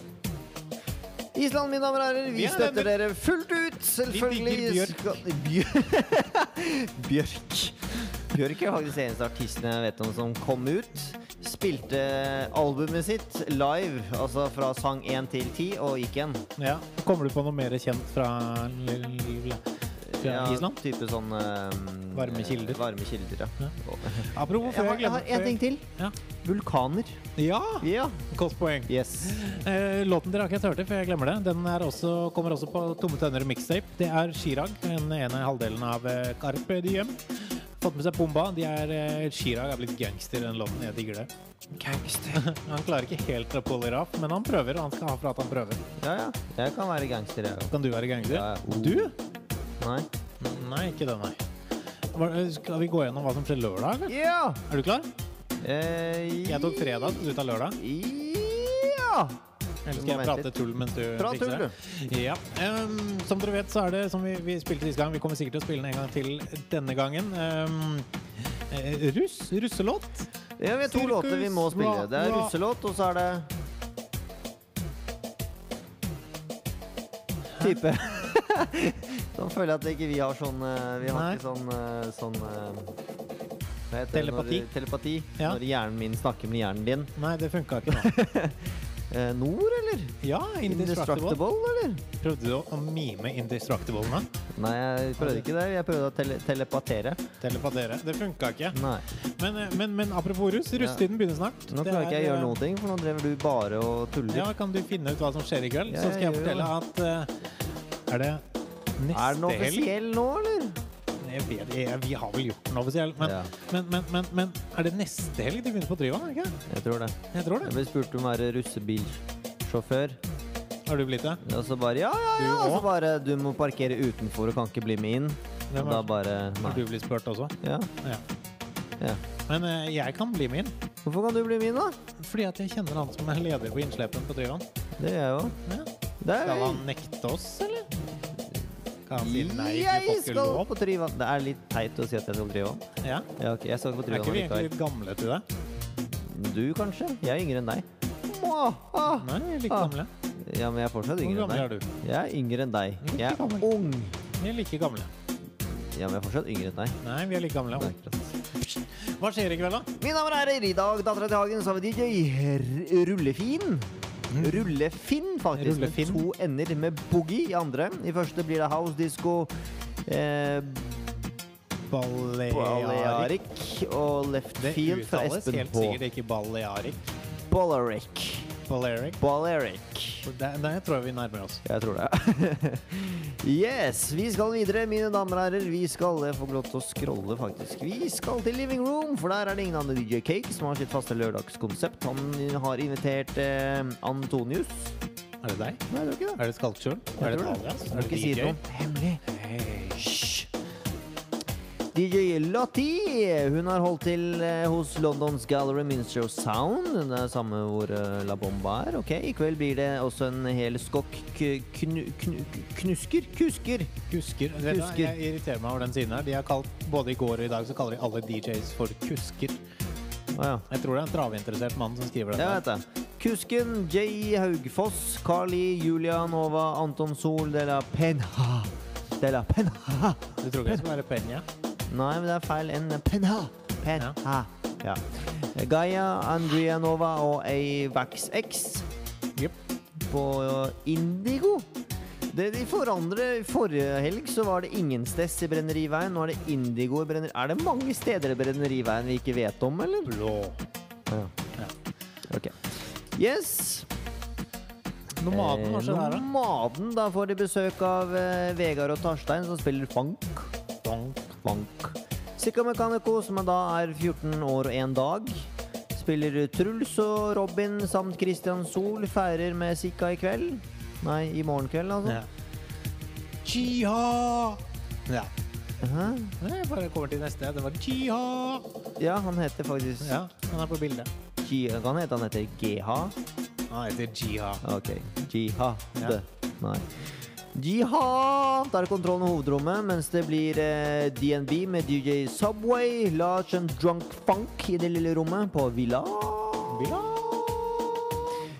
S3: Island, mine damer og herrer, vi
S2: Vi er
S3: støtter
S2: venner.
S3: dere fullt ut. Selvfølgelig
S2: Vi digger
S3: skal- Bjør- Bjørk. (laughs) Bjørk er faktisk den eneste artisten jeg vet om som kom ut. Spilte albumet sitt live, altså fra sang 1 til 10, og gikk igjen.
S2: Ja. Kommer du på noe mer kjent fra, l- l- fra Island?
S3: Type sånn um,
S2: Varme kilder.
S3: Varme kilder, ja.
S2: Ja. Apropos
S3: Jeg har, jeg har en ting til.
S2: Ja.
S3: Vulkaner.
S2: Ja!
S3: Ja.
S2: Godt poeng.
S3: Yes.
S2: Eh, låten dere har ikke helt hørt det, for jeg glemmer det. Den er også, kommer også på Tomme tønner og mixtape. Det er Chirag, den ene halvdelen av eh, Carpe Diem. Fått med seg Bomba. De er, eh, Chirag er blitt gangster i den låten. Jeg digger det.
S3: Gangster.
S2: (laughs) Han klarer ikke helt å pulle it off, men han prøver, og han skal ha for at han prøver.
S3: Ja, ja. Jeg kan være gangster, jeg òg.
S2: Kan du være gangster?
S3: Ja, ja.
S2: Du?
S3: Nei.
S2: Nei, ikke det, nei. Hva- eh, Skal vi gå gjennom hva som skjer lørdag, eller?
S3: Ja!
S2: Er du klar?
S3: Eh,
S2: Jeg tok fredag, du tar lørdag.
S3: Ja!
S2: Eller skal jeg
S3: Moment
S2: prate
S3: litt.
S2: tull mens du
S3: Prat tull,
S2: fikser det? Ja. Ehm, som dere vet, så er det som vi, vi spilte sist gang. Vi kommer sikkert til å spille den en gang til denne gangen. Ehm, eh, russ, russelåt.
S3: Ja, vi har to
S2: Sirkus,
S3: låter vi må spille.
S2: hva-
S3: Det er
S2: hva-
S3: russelåt, og så er det Type. (laughs) Nå føler jeg at ikke vi har sånn eh, Vi har
S2: Nei.
S3: ikke sånn, eh, sånn eh, Hva heter det?
S2: Telepati?
S3: Når, telepati.
S2: Ja.
S3: Når hjernen min snakker med hjernen din.
S2: Nei, det funka ikke nå.
S3: Eh, Nord, eller?
S2: (laughs) Ja, Indestructible.
S3: Indestructible, eller?
S2: Prøvde du å mime Indestructible nå?
S3: Nei, jeg prøvde ikke det. Jeg prøvde å tele telepatere.
S2: Telepatere. Det funka ikke.
S3: Nei.
S2: Men, eh, men, men apropos russ, russetiden begynner snart.
S3: Nå
S2: Det
S3: klarer ikke jeg å
S2: er,
S3: gjøre
S2: eh,
S3: noen ting, for nå driver du bare og tuller.
S2: Ja, kan du finne ut hva som skjer i kveld?
S3: Ja,
S2: så skal jeg
S3: jeg gjør
S2: fortelle at eh, Er det neste
S3: Er den
S2: helg?
S3: offisiell nå, eller?
S2: Jeg vet, jeg, vi har vel gjort den offisiell, men,
S3: Ja.
S2: men, men, men, men er det neste helg de begynner på Tryvann? er det Ikke?
S3: Jeg tror det.
S2: Jeg tror
S3: Jeg
S2: det.
S3: ble spurt om å være russebilsjåfør.
S2: Har du blitt det?
S3: Og så bare ja, ja, ja.
S2: Du
S3: Og så
S2: også?
S3: bare du må parkere utenfor og kan ikke bli med inn.
S2: Hvem
S3: Og da
S2: er det?
S3: bare
S2: Har du
S3: nei.
S2: blitt spurt også?
S3: Ja,
S2: Ja.
S3: ja.
S2: Men eh, jeg kan bli med inn,
S3: Hvorfor kan du bli med inn, da?
S2: fordi at jeg kjenner han som er leder på innslepen på Tryvann.
S3: Det gjør jeg jo.
S2: Ja.
S3: Det er
S2: Skal han nekte oss, eller? Kan han si nei, du
S3: Jeg
S2: får ikke
S3: skal
S2: lov?
S3: på Tryvann. Det er litt teit å si at jeg skal på Tryvann.
S2: Ja.
S3: Ja, ok, jeg skal
S2: Er ikke
S3: ikke på Tryvann
S2: vi egentlig
S3: likevel.
S2: litt gamle til det?
S3: Du, kanskje? Jeg er yngre enn deg. Mwah, ah.
S2: Nei, vi er like
S3: Ah.
S2: gamle.
S3: Ja, men jeg er fortsatt
S2: Hvor
S3: yngre enn
S2: gamle er
S3: deg.
S2: du?
S3: Jeg er yngre enn deg.
S2: Ikke
S3: Jeg
S2: gammel.
S3: er ung.
S2: Vi er like gamle.
S3: Ja, men jeg er fortsatt yngre enn deg.
S2: Nei, vi er like gamle.
S3: Det er akkurat.
S2: Hva skjer i kveld, da?
S3: Mine damer og herrer, i dag, dattera til Hagen, så har vi DJ R- Rullefin. Rullefinn, faktisk.
S2: Mm. Rullefinn.
S3: Med to ender med boogie i andre. I første blir det house, disco, eh,
S2: Balearic.
S3: balearic og left
S2: Det
S3: field fra
S2: uttales
S3: Espen
S2: helt
S3: H.
S2: sikkert ikke Balearic.
S3: Balearic.
S2: Balearic.
S3: Balearic.
S2: Der, der tror jeg vi nærmer oss.
S3: Jeg tror det. (laughs) yes, vi skal videre, mine damer og herrer. Vi skal jeg får ikke lov til å scrolle, faktisk. Vi skal til Living Room, for der er det ingen andre DJ Cake som har sitt faste lørdagskonsept. Han har invitert eh, Antonius.
S2: Er det deg?
S3: Nei, det er jo ikke det.
S2: Er det Skalkskjul? Er det et alias?
S3: Må
S2: Er
S3: ikke
S2: det
S3: si
S2: DJ?
S3: noe hemmelig. Hysj. DJ Lottie hun har holdt til eh, hos Londons Gallery Minstrel Sound. Det er samme hvor eh, La Bomba er. ok? I kveld blir det også en hel skokk k- knu, knu, knusker? Kusker!
S2: Kusker. Vet du hva,
S3: Kusker.
S2: Jeg irriterer meg over den siden her. De har kalt, Både i går og i dag så kaller de alle DJs for kusker.
S3: Å ja.
S2: Jeg tror det er en traveinteressert mann som skriver
S3: Det
S2: dette.
S3: vet jeg. Kusken, Jay Haugfoss, Carly, Julia Nova, Anton Sol, de la Penha. De la Penha.
S2: Du tror ikke det skal være Peña?
S3: Nei, men det er feil. En Penha. Penha. Ja. Gaia, Andrea Nova og Avax X
S2: Yep.
S3: på Indigo. Det de forandrer Forrige helg så var det ingen stess i Brenneriveien. Nå er det Indigo i Brenneriveien. Er det mange steder i Brenneriveien vi ikke vet om, eller?
S2: Blå.
S3: Ja. Ok. Yes.
S2: Nomaden var sånn her,
S3: Eh,
S2: da.
S3: Nomaden, da får de besøk av eh, Vegard og Tarstein, som spiller funk.
S2: Donk.
S3: Funk. Sikka Mekaniko, som da er 14 år og én dag. Spiller Truls og Robin samt Christian Sol feirer med Sikka i kveld. Nei, i morgen kveld, altså.
S2: Eh, Ja. Jiha! Ja.
S3: Hæ?
S2: Jeg bare kommer til neste. Det var Jiha!
S3: Ja, han heter faktisk
S2: Ja, han er på bildet.
S3: G- Hva heter han? heter GH?
S2: Han heter Jiha.
S3: Ok. Jihad.
S2: Ja.
S3: Nei. Jihad! Da er det kontroll med hovedrommet, mens det blir eh, DNB med DJ Subway, Large and Drunk Funk i det lille rommet på Villa.
S2: Villa.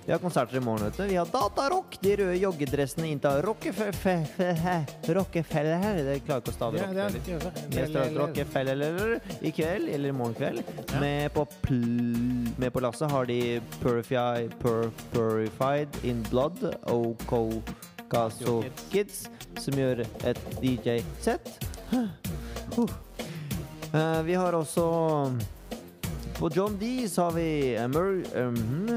S3: Vi har konserter i morgen, vet du. Vi har Datarock, de røde joggedressene inntil Rockefeller Rockefeller Det klarer ikke å stave
S2: Ja, det er
S3: Rockefeller. Restaurant Rockefeller i kveld, eller i morgen kveld.
S2: Ja.
S3: Med, på pl med på lasset har de Purify, pur Purified in Blood og Cocaso
S2: Yo,
S3: Kids, som gjør et DJ-sett. Huh. Eh, vi har også På John Dees har vi emer ehm,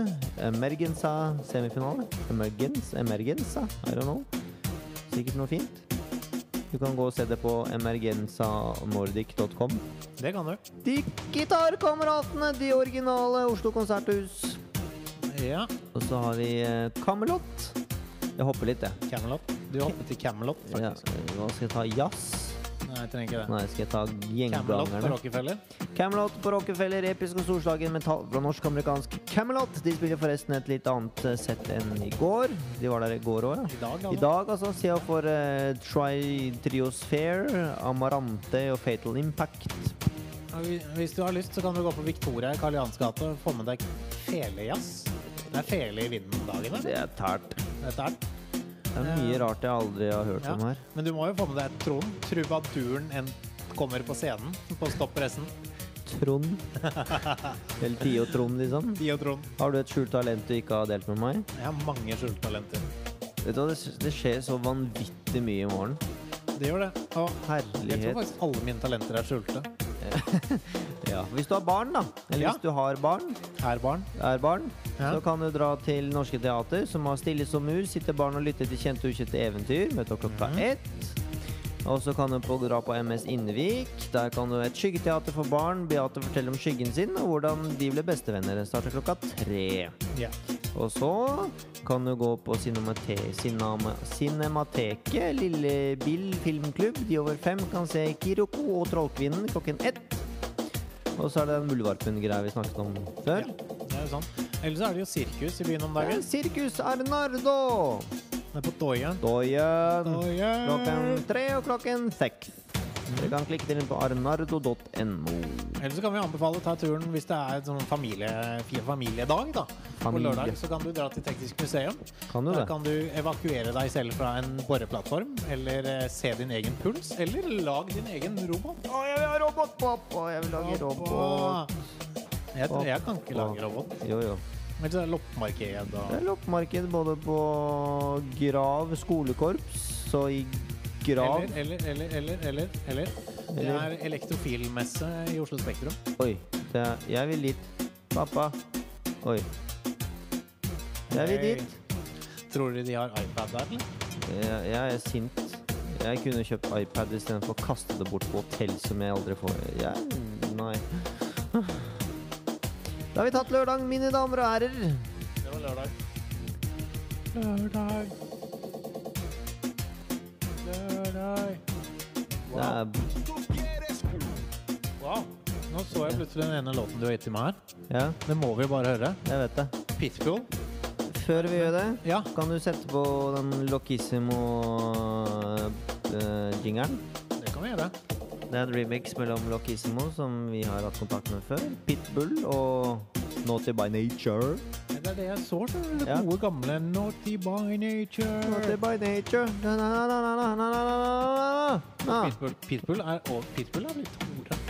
S3: Emergenza semifinale. Emergens, emergenza, I don't know. Sikkert noe fint. Du kan gå og se det på emergensamordic.com.
S2: Det kan du.
S3: De gitarkameratene, de originale Oslo Konserthus.
S2: Ja.
S3: Og så har vi eh, Camelot. Jeg hopper litt, jeg.
S2: Camelot. Du hoppet til Camelot,
S3: Ja,
S2: faktisk.
S3: eh, nå skal jeg ta jazz.
S2: Nei, jeg trenger ikke det.
S3: Nei, skal jeg ta
S2: Camelot på
S3: gjengangerne?
S2: Rockefeller.
S3: Camelot på Rockefeller, episk og storslagen metall fra norsk-amerikansk Camelot. De spiller forresten et litt annet eh, sett enn i går. De var der i går òg, ja.
S2: I dag,
S3: I
S2: altså.
S3: dag altså ser jeg for eh, Tri Trios Fair, Amarante og Fatal Impact.
S2: Ja, vi- Hvis du har lyst, så kan du gå på Victoria i Karl Johans gate og få med deg felejazz. Det er fele i vinden om dagen, da.
S3: Det er tært.
S2: Dette er den.
S3: Det er mye rart jeg aldri har hørt
S2: Eh, Ja.
S3: om Sånn her.
S2: Men du må jo få med deg Trond. Trubaduren en kommer på scenen på stoppressen.
S3: Trond. Eller Tio Trond, liksom.
S2: De og Trond.
S3: Har du et skjult talent du ikke har delt med meg?
S2: Jeg har mange skjultalenter.
S3: Vet du hva, det, det skjer så vanvittig mye i morgen.
S2: Det gjør det. Og jeg tror
S3: Herlighet.
S2: faktisk alle mine talenter er skjulte.
S3: Ja. Hvis du har barn, da. Eller
S2: Ja.
S3: hvis du har barn,
S2: Er barn.
S3: er barn,
S2: Ja.
S3: så kan du dra til Norske Teater, som har Stille som mur. Sitter barn og lytter til kjente og ukjente eventyr. Møter klokka
S2: Mhm.
S3: ett. Og så kan du på- dra på MS Innevik. Der kan du et skyggeteater for barn. Beate forteller om skyggen sin og hvordan de ble bestevenner. Den starter klokka tre.
S2: Ja.
S3: Og så kan du gå på cinemate cinema Cinemateket, Lille Bill filmklubb. De over fem kan se Kiroko og Trollkvinnen klokken ett. Og så er det den muldvarpen-greia vi snakket om før.
S2: Ja, det er jo sånn. Ellers er det jo sirkus i byen om
S3: Det er
S2: dagen.
S3: Sirkus Arnardo!
S2: Det er på Doyen.
S3: Doyen
S2: Doyen.
S3: klokken tre og klokken seks. Dere kan klikke dere inn på arnardo.no.
S2: Ellers så kan vi anbefale å ta turen hvis det er sånn familie, fi- familiedag. da. På
S3: Familie.
S2: lørdag så kan du dra til Teknisk museum.
S3: Kan du
S2: Der
S3: det?
S2: kan du evakuere deg selv fra en boreplattform, eller eh, se din egen puls, eller lag din egen robot.
S3: Å, jeg vil ha robotpop! Å, jeg vil lage robot.
S2: Jeg, tror- jeg kan ikke lage robot.
S3: Jo, jo.
S2: Men så er det loppemarked og
S3: Det er loppemarked både på Grav skolekorps og i Grav
S2: eller, eller, eller, eller, eller, eller. Det
S3: Eller.
S2: er elektrofilmesse i Oslo Spektrum.
S3: Oi, det er, jeg vil dit. Pappa. Oi. Jeg vil
S2: Hei.
S3: dit.
S2: Tror du de har iPad der, eller?
S3: Jeg, jeg er sint. Jeg kunne kjøpt iPad istedenfor å kaste det bort på hotell som jeg aldri får. Jeg, nei. Da har vi tatt lørdag, mine damer og herrer.
S2: Det var lørdag. Lørdag. Lørdag.
S3: Det er
S4: Tú quieres
S2: Nå så jeg plutselig den ene låten du har gitt til meg her.
S3: Ja,
S2: Den må vi jo bare høre.
S3: jeg vet det.
S2: Pitbull.
S3: Før vi gjør det,
S2: Ja.
S3: kan du sette på den Lockissimo-jingeren?
S2: Det kan vi gjøre.
S3: Det er en remix mellom Lockissimo, som vi har hatt kontakt med før, Pitbull og Naughty by Nature.
S2: Det er det jeg så, så det
S3: Ja.
S2: gode gamle Naughty by
S3: Naughty
S2: Nature.
S3: by Nature. Na, na, na, na, na, na, na, na, na, na.
S2: Pitbull, Pitbull er, og Pitbull er blitt hore.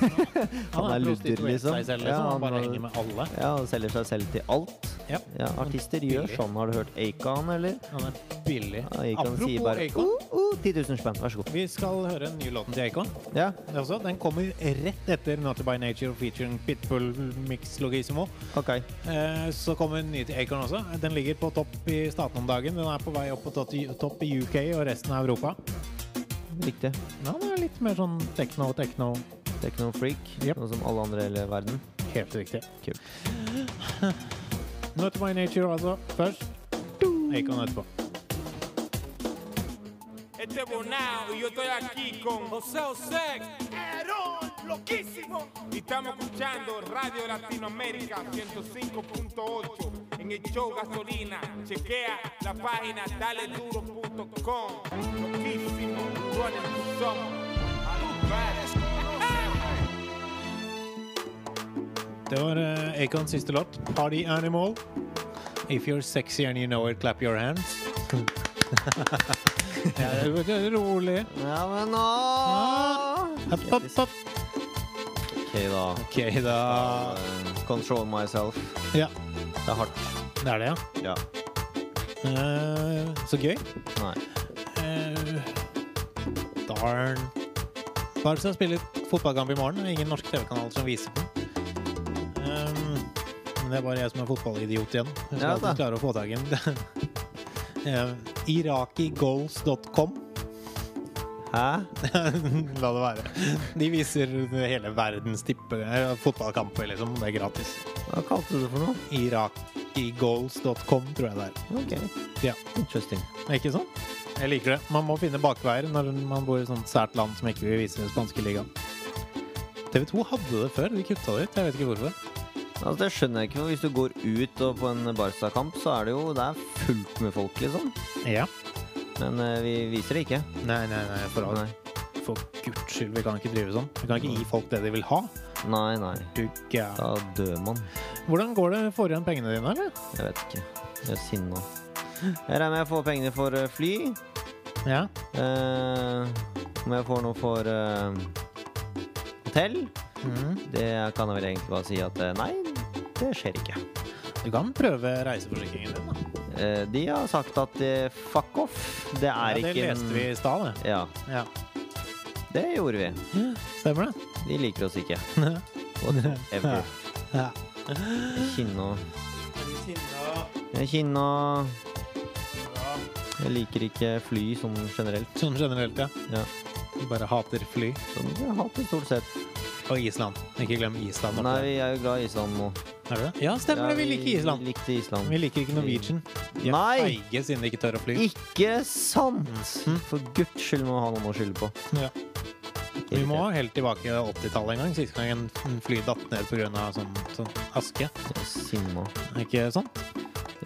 S3: (laughs) Han er luder,
S2: prostituert
S3: liksom.
S2: Seg selv, liksom.
S3: Ja, han
S2: han bare
S3: er-
S2: henger med alle.
S3: Ja, han selger seg selv til alt.
S2: Ja.
S3: Ja, artister gjør
S2: Billig.
S3: sånn. Har du hørt Acon, eller?
S2: Han er billig.
S3: Ja, Acon sier
S2: Apropos
S3: bare
S2: Acon.
S3: uh, uh, 10 000 spenn, vær så god.
S2: Vi skal høre den nye låten til Acon.
S3: Ja,
S2: Det også. Den kommer rett etter Naughty by Nature featuring Pitbull Mix Logismo.
S3: ok.
S2: Eh, Så kommer den nye til Acorn også. Den ligger på topp i statene om dagen. Den er på vei opp på tot- topp i UK og resten av Europa.
S3: Riktig.
S2: Ja, Den er litt mer sånn tekno, tekno.
S3: Techno-freak,
S2: Yep.
S3: noe som alle andre i hele verden.
S2: Helt riktig.
S3: Kult.
S2: Not by nature, altså. Først. Acon etterpå.
S7: Este Bonao y yo estoy aquí con José José. loquísimo. Y estamos escuchando Radio Latinoamérica 105.8 en el show Gasolina. Chequea la página daleduro.com. Loquísimo. Running to summer. A los bares.
S2: Det var eh, Acons siste låt, 'Party Animal'. If you're sexy and you know it, clap your hands. (laughs) ja, det er rolig.
S3: Ja, men nå
S2: Hopp, hopp, hopp.
S3: Ok, da.
S2: OK, da.
S3: Eh, Control myself.
S2: Ja,
S3: Det er hardt.
S2: det er det, ja.
S3: Ja.
S2: Eh, så gøy.
S3: Nei.
S2: Eh, darn. Barca spiller fotballkamp i morgen. Ingen norsk TV-kanal som viser den. Um, men det er bare jeg som er fotballidiot igjen. Jeg skal
S3: Ja,
S2: alltid
S3: da.
S2: klare å få tak i den. (laughs) Eh, Irakigoals.com.
S3: Hæ?
S2: (laughs) La det være. De viser hele verdens tippe eh, fotballkamper, liksom. Det er gratis.
S3: Hva kalte du det for noe?
S2: Irakigoals.com, tror jeg det er.
S3: Ok.
S2: Ja.
S3: Interesting.
S2: Ikke sant? Jeg liker det. Man må finne bakveier når man bor i sånt sært land som ikke vil vise den spanske ligaen. TV 2 hadde det før. De kutta det ut. Jeg vet ikke hvorfor.
S3: Altså, det skjønner jeg ikke, for hvis du går ut og på en Barca-kamp, så er det jo det er fullt med folk, liksom.
S2: Ja.
S3: Men eh, vi viser det ikke.
S2: Nei, nei, nei. For, all-
S3: Nei,
S2: for guds skyld, vi kan ikke drive sånn. Vi kan ikke gi folk det de vil ha.
S3: nei. nei.
S2: Du gæren.
S3: Da dør man.
S2: Hvordan går det? Får du igjen pengene dine, eller?
S3: Jeg vet ikke. Jeg er sinna. Jeg regner med jeg får pengene for eh, fly.
S2: Ja.
S3: Eh, om jeg får noe for eh, hotell.
S2: Mm.
S3: Det kan jeg vel egentlig bare si at eh, nei, det skjer ikke.
S2: Du kan prøve reiseforsikringen din, da.
S3: Eh, de har sagt at eh, fuck off. Det
S2: ja,
S3: er
S2: det
S3: ikke en-
S2: leste vi i stad, det.
S3: Ja,
S2: Ja.
S3: det gjorde vi.
S2: Stemmer det?
S3: De liker oss
S2: (laughs)
S3: ikke. Whatever.
S2: Ja.
S3: Kinna Kinna Jeg liker ikke fly sånn generelt.
S2: Sånn generelt, ja.
S3: Ja.
S2: Du bare hater fly.
S3: Sånn, jeg hater stort sett.
S2: Og Island. Ikke glem Island. oppi
S3: Nei,
S2: der.
S3: vi er jo glad i Island nå.
S2: Er det det? Ja, stemmer
S3: Ja,
S2: det. Vi liker Island.
S3: Vi likte Island.
S2: Vi liker ikke Norwegian. De er
S3: Nei!
S2: Feige siden de ikke tør å fly.
S3: Ikke sant!
S2: Mhm.
S3: For guds skyld må vi ha noen å skylde på.
S2: Ja. Vi må helt tilbake til 80-tallet en gang. Siste gang en- en fly datt ned pga. Sånn, sånn aske.
S3: Jeg er Sinna.
S2: Ikke sant?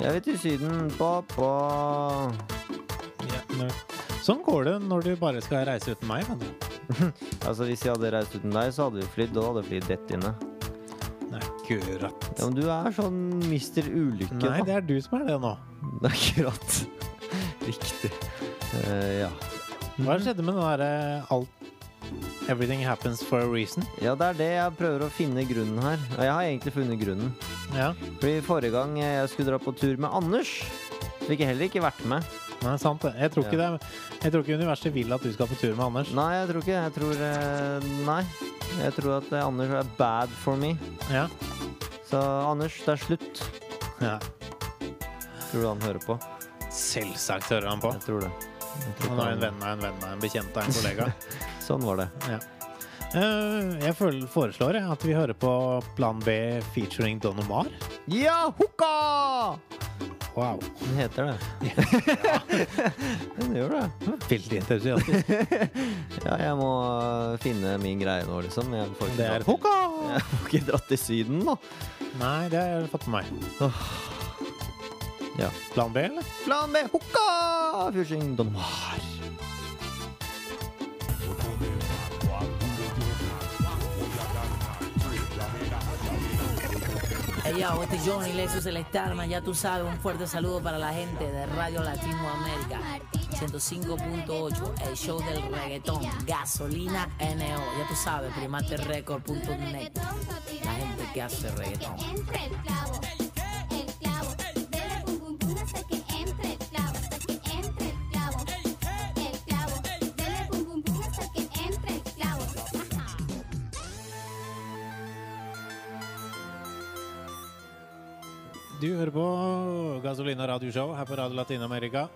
S3: Jeg vil til Syden, pappa.
S2: Ja. men- Sånn går det når du bare skal reise uten meg. vet du.
S3: Altså, hvis jeg hadde reist uten deg, så hadde vi flydd. og Da hadde vi flydd rett inne.
S2: Nei, akkurat.
S3: Ja, men du er sånn mister ulykke,
S2: Nei,
S3: da.
S2: det er du som er det nå.
S3: (laughs) Akkurat. Riktig. Eh, ja.
S2: Hva skjedde med den derre alt Everything happens for a reason.
S3: ja, det er det jeg prøver å finne grunnen her. Og jeg har egentlig funnet grunnen.
S2: Ja,
S3: Fordi forrige gang jeg skulle dra på tur med Anders, så fikk jeg heller ikke vært med.
S2: Nei, sant det. Jeg tror ikke, det er, jeg tror ikke universet vil at du skal på tur med Anders.
S3: Nei, jeg tror ikke det. Jeg tror eh, Nei. Jeg tror at eh, Anders er bad for me.
S2: Ja.
S3: Så Anders, det er slutt.
S2: ja.
S3: Tror du han hører på?
S2: Selvsagt hører han på.
S3: Jeg tror det. Jeg tror
S2: Han
S3: ikke
S2: er en venn av en venn av en bekjent av en kollega. (laughs)
S3: Sånn var det.
S2: Eh, Jeg føl- foreslår jeg, at vi hører på Plan B featuring Don Omar.
S3: Ja, hukka!
S2: Wow.
S3: Den heter det. (laughs) Den gjør det.
S2: Veldig entusiastisk.
S3: Ja, jeg må eh, finne min greie nå, liksom. Jeg får ikke
S2: Det er
S3: (laughs) dratt- Jeg får ikke dratt til Syden, da.
S2: Nei, det har jeg fått med meg.
S3: Ja.
S2: Plan B, eller?
S3: Plan B, hukka! Fushing Donoir.
S8: Hey yo, este es Johnny Iglesias el Starman, ya tú sabes, un fuerte saludo para la gente de Radio Latinoamérica. 105.8, el show del reggaetón, gasolina NO, ya tú sabes, primaterecord.net, la gente que hace reggaetón.
S9: entre el clavo, el clavo, de la puntuntuna hasta que entre el clavo, hasta que entre el clavo, el clavo, de la puntuntuna hasta que entre el clavo. Ajá.
S2: Du hører på Gasolina radioshow her på Radio Latin-Amerika.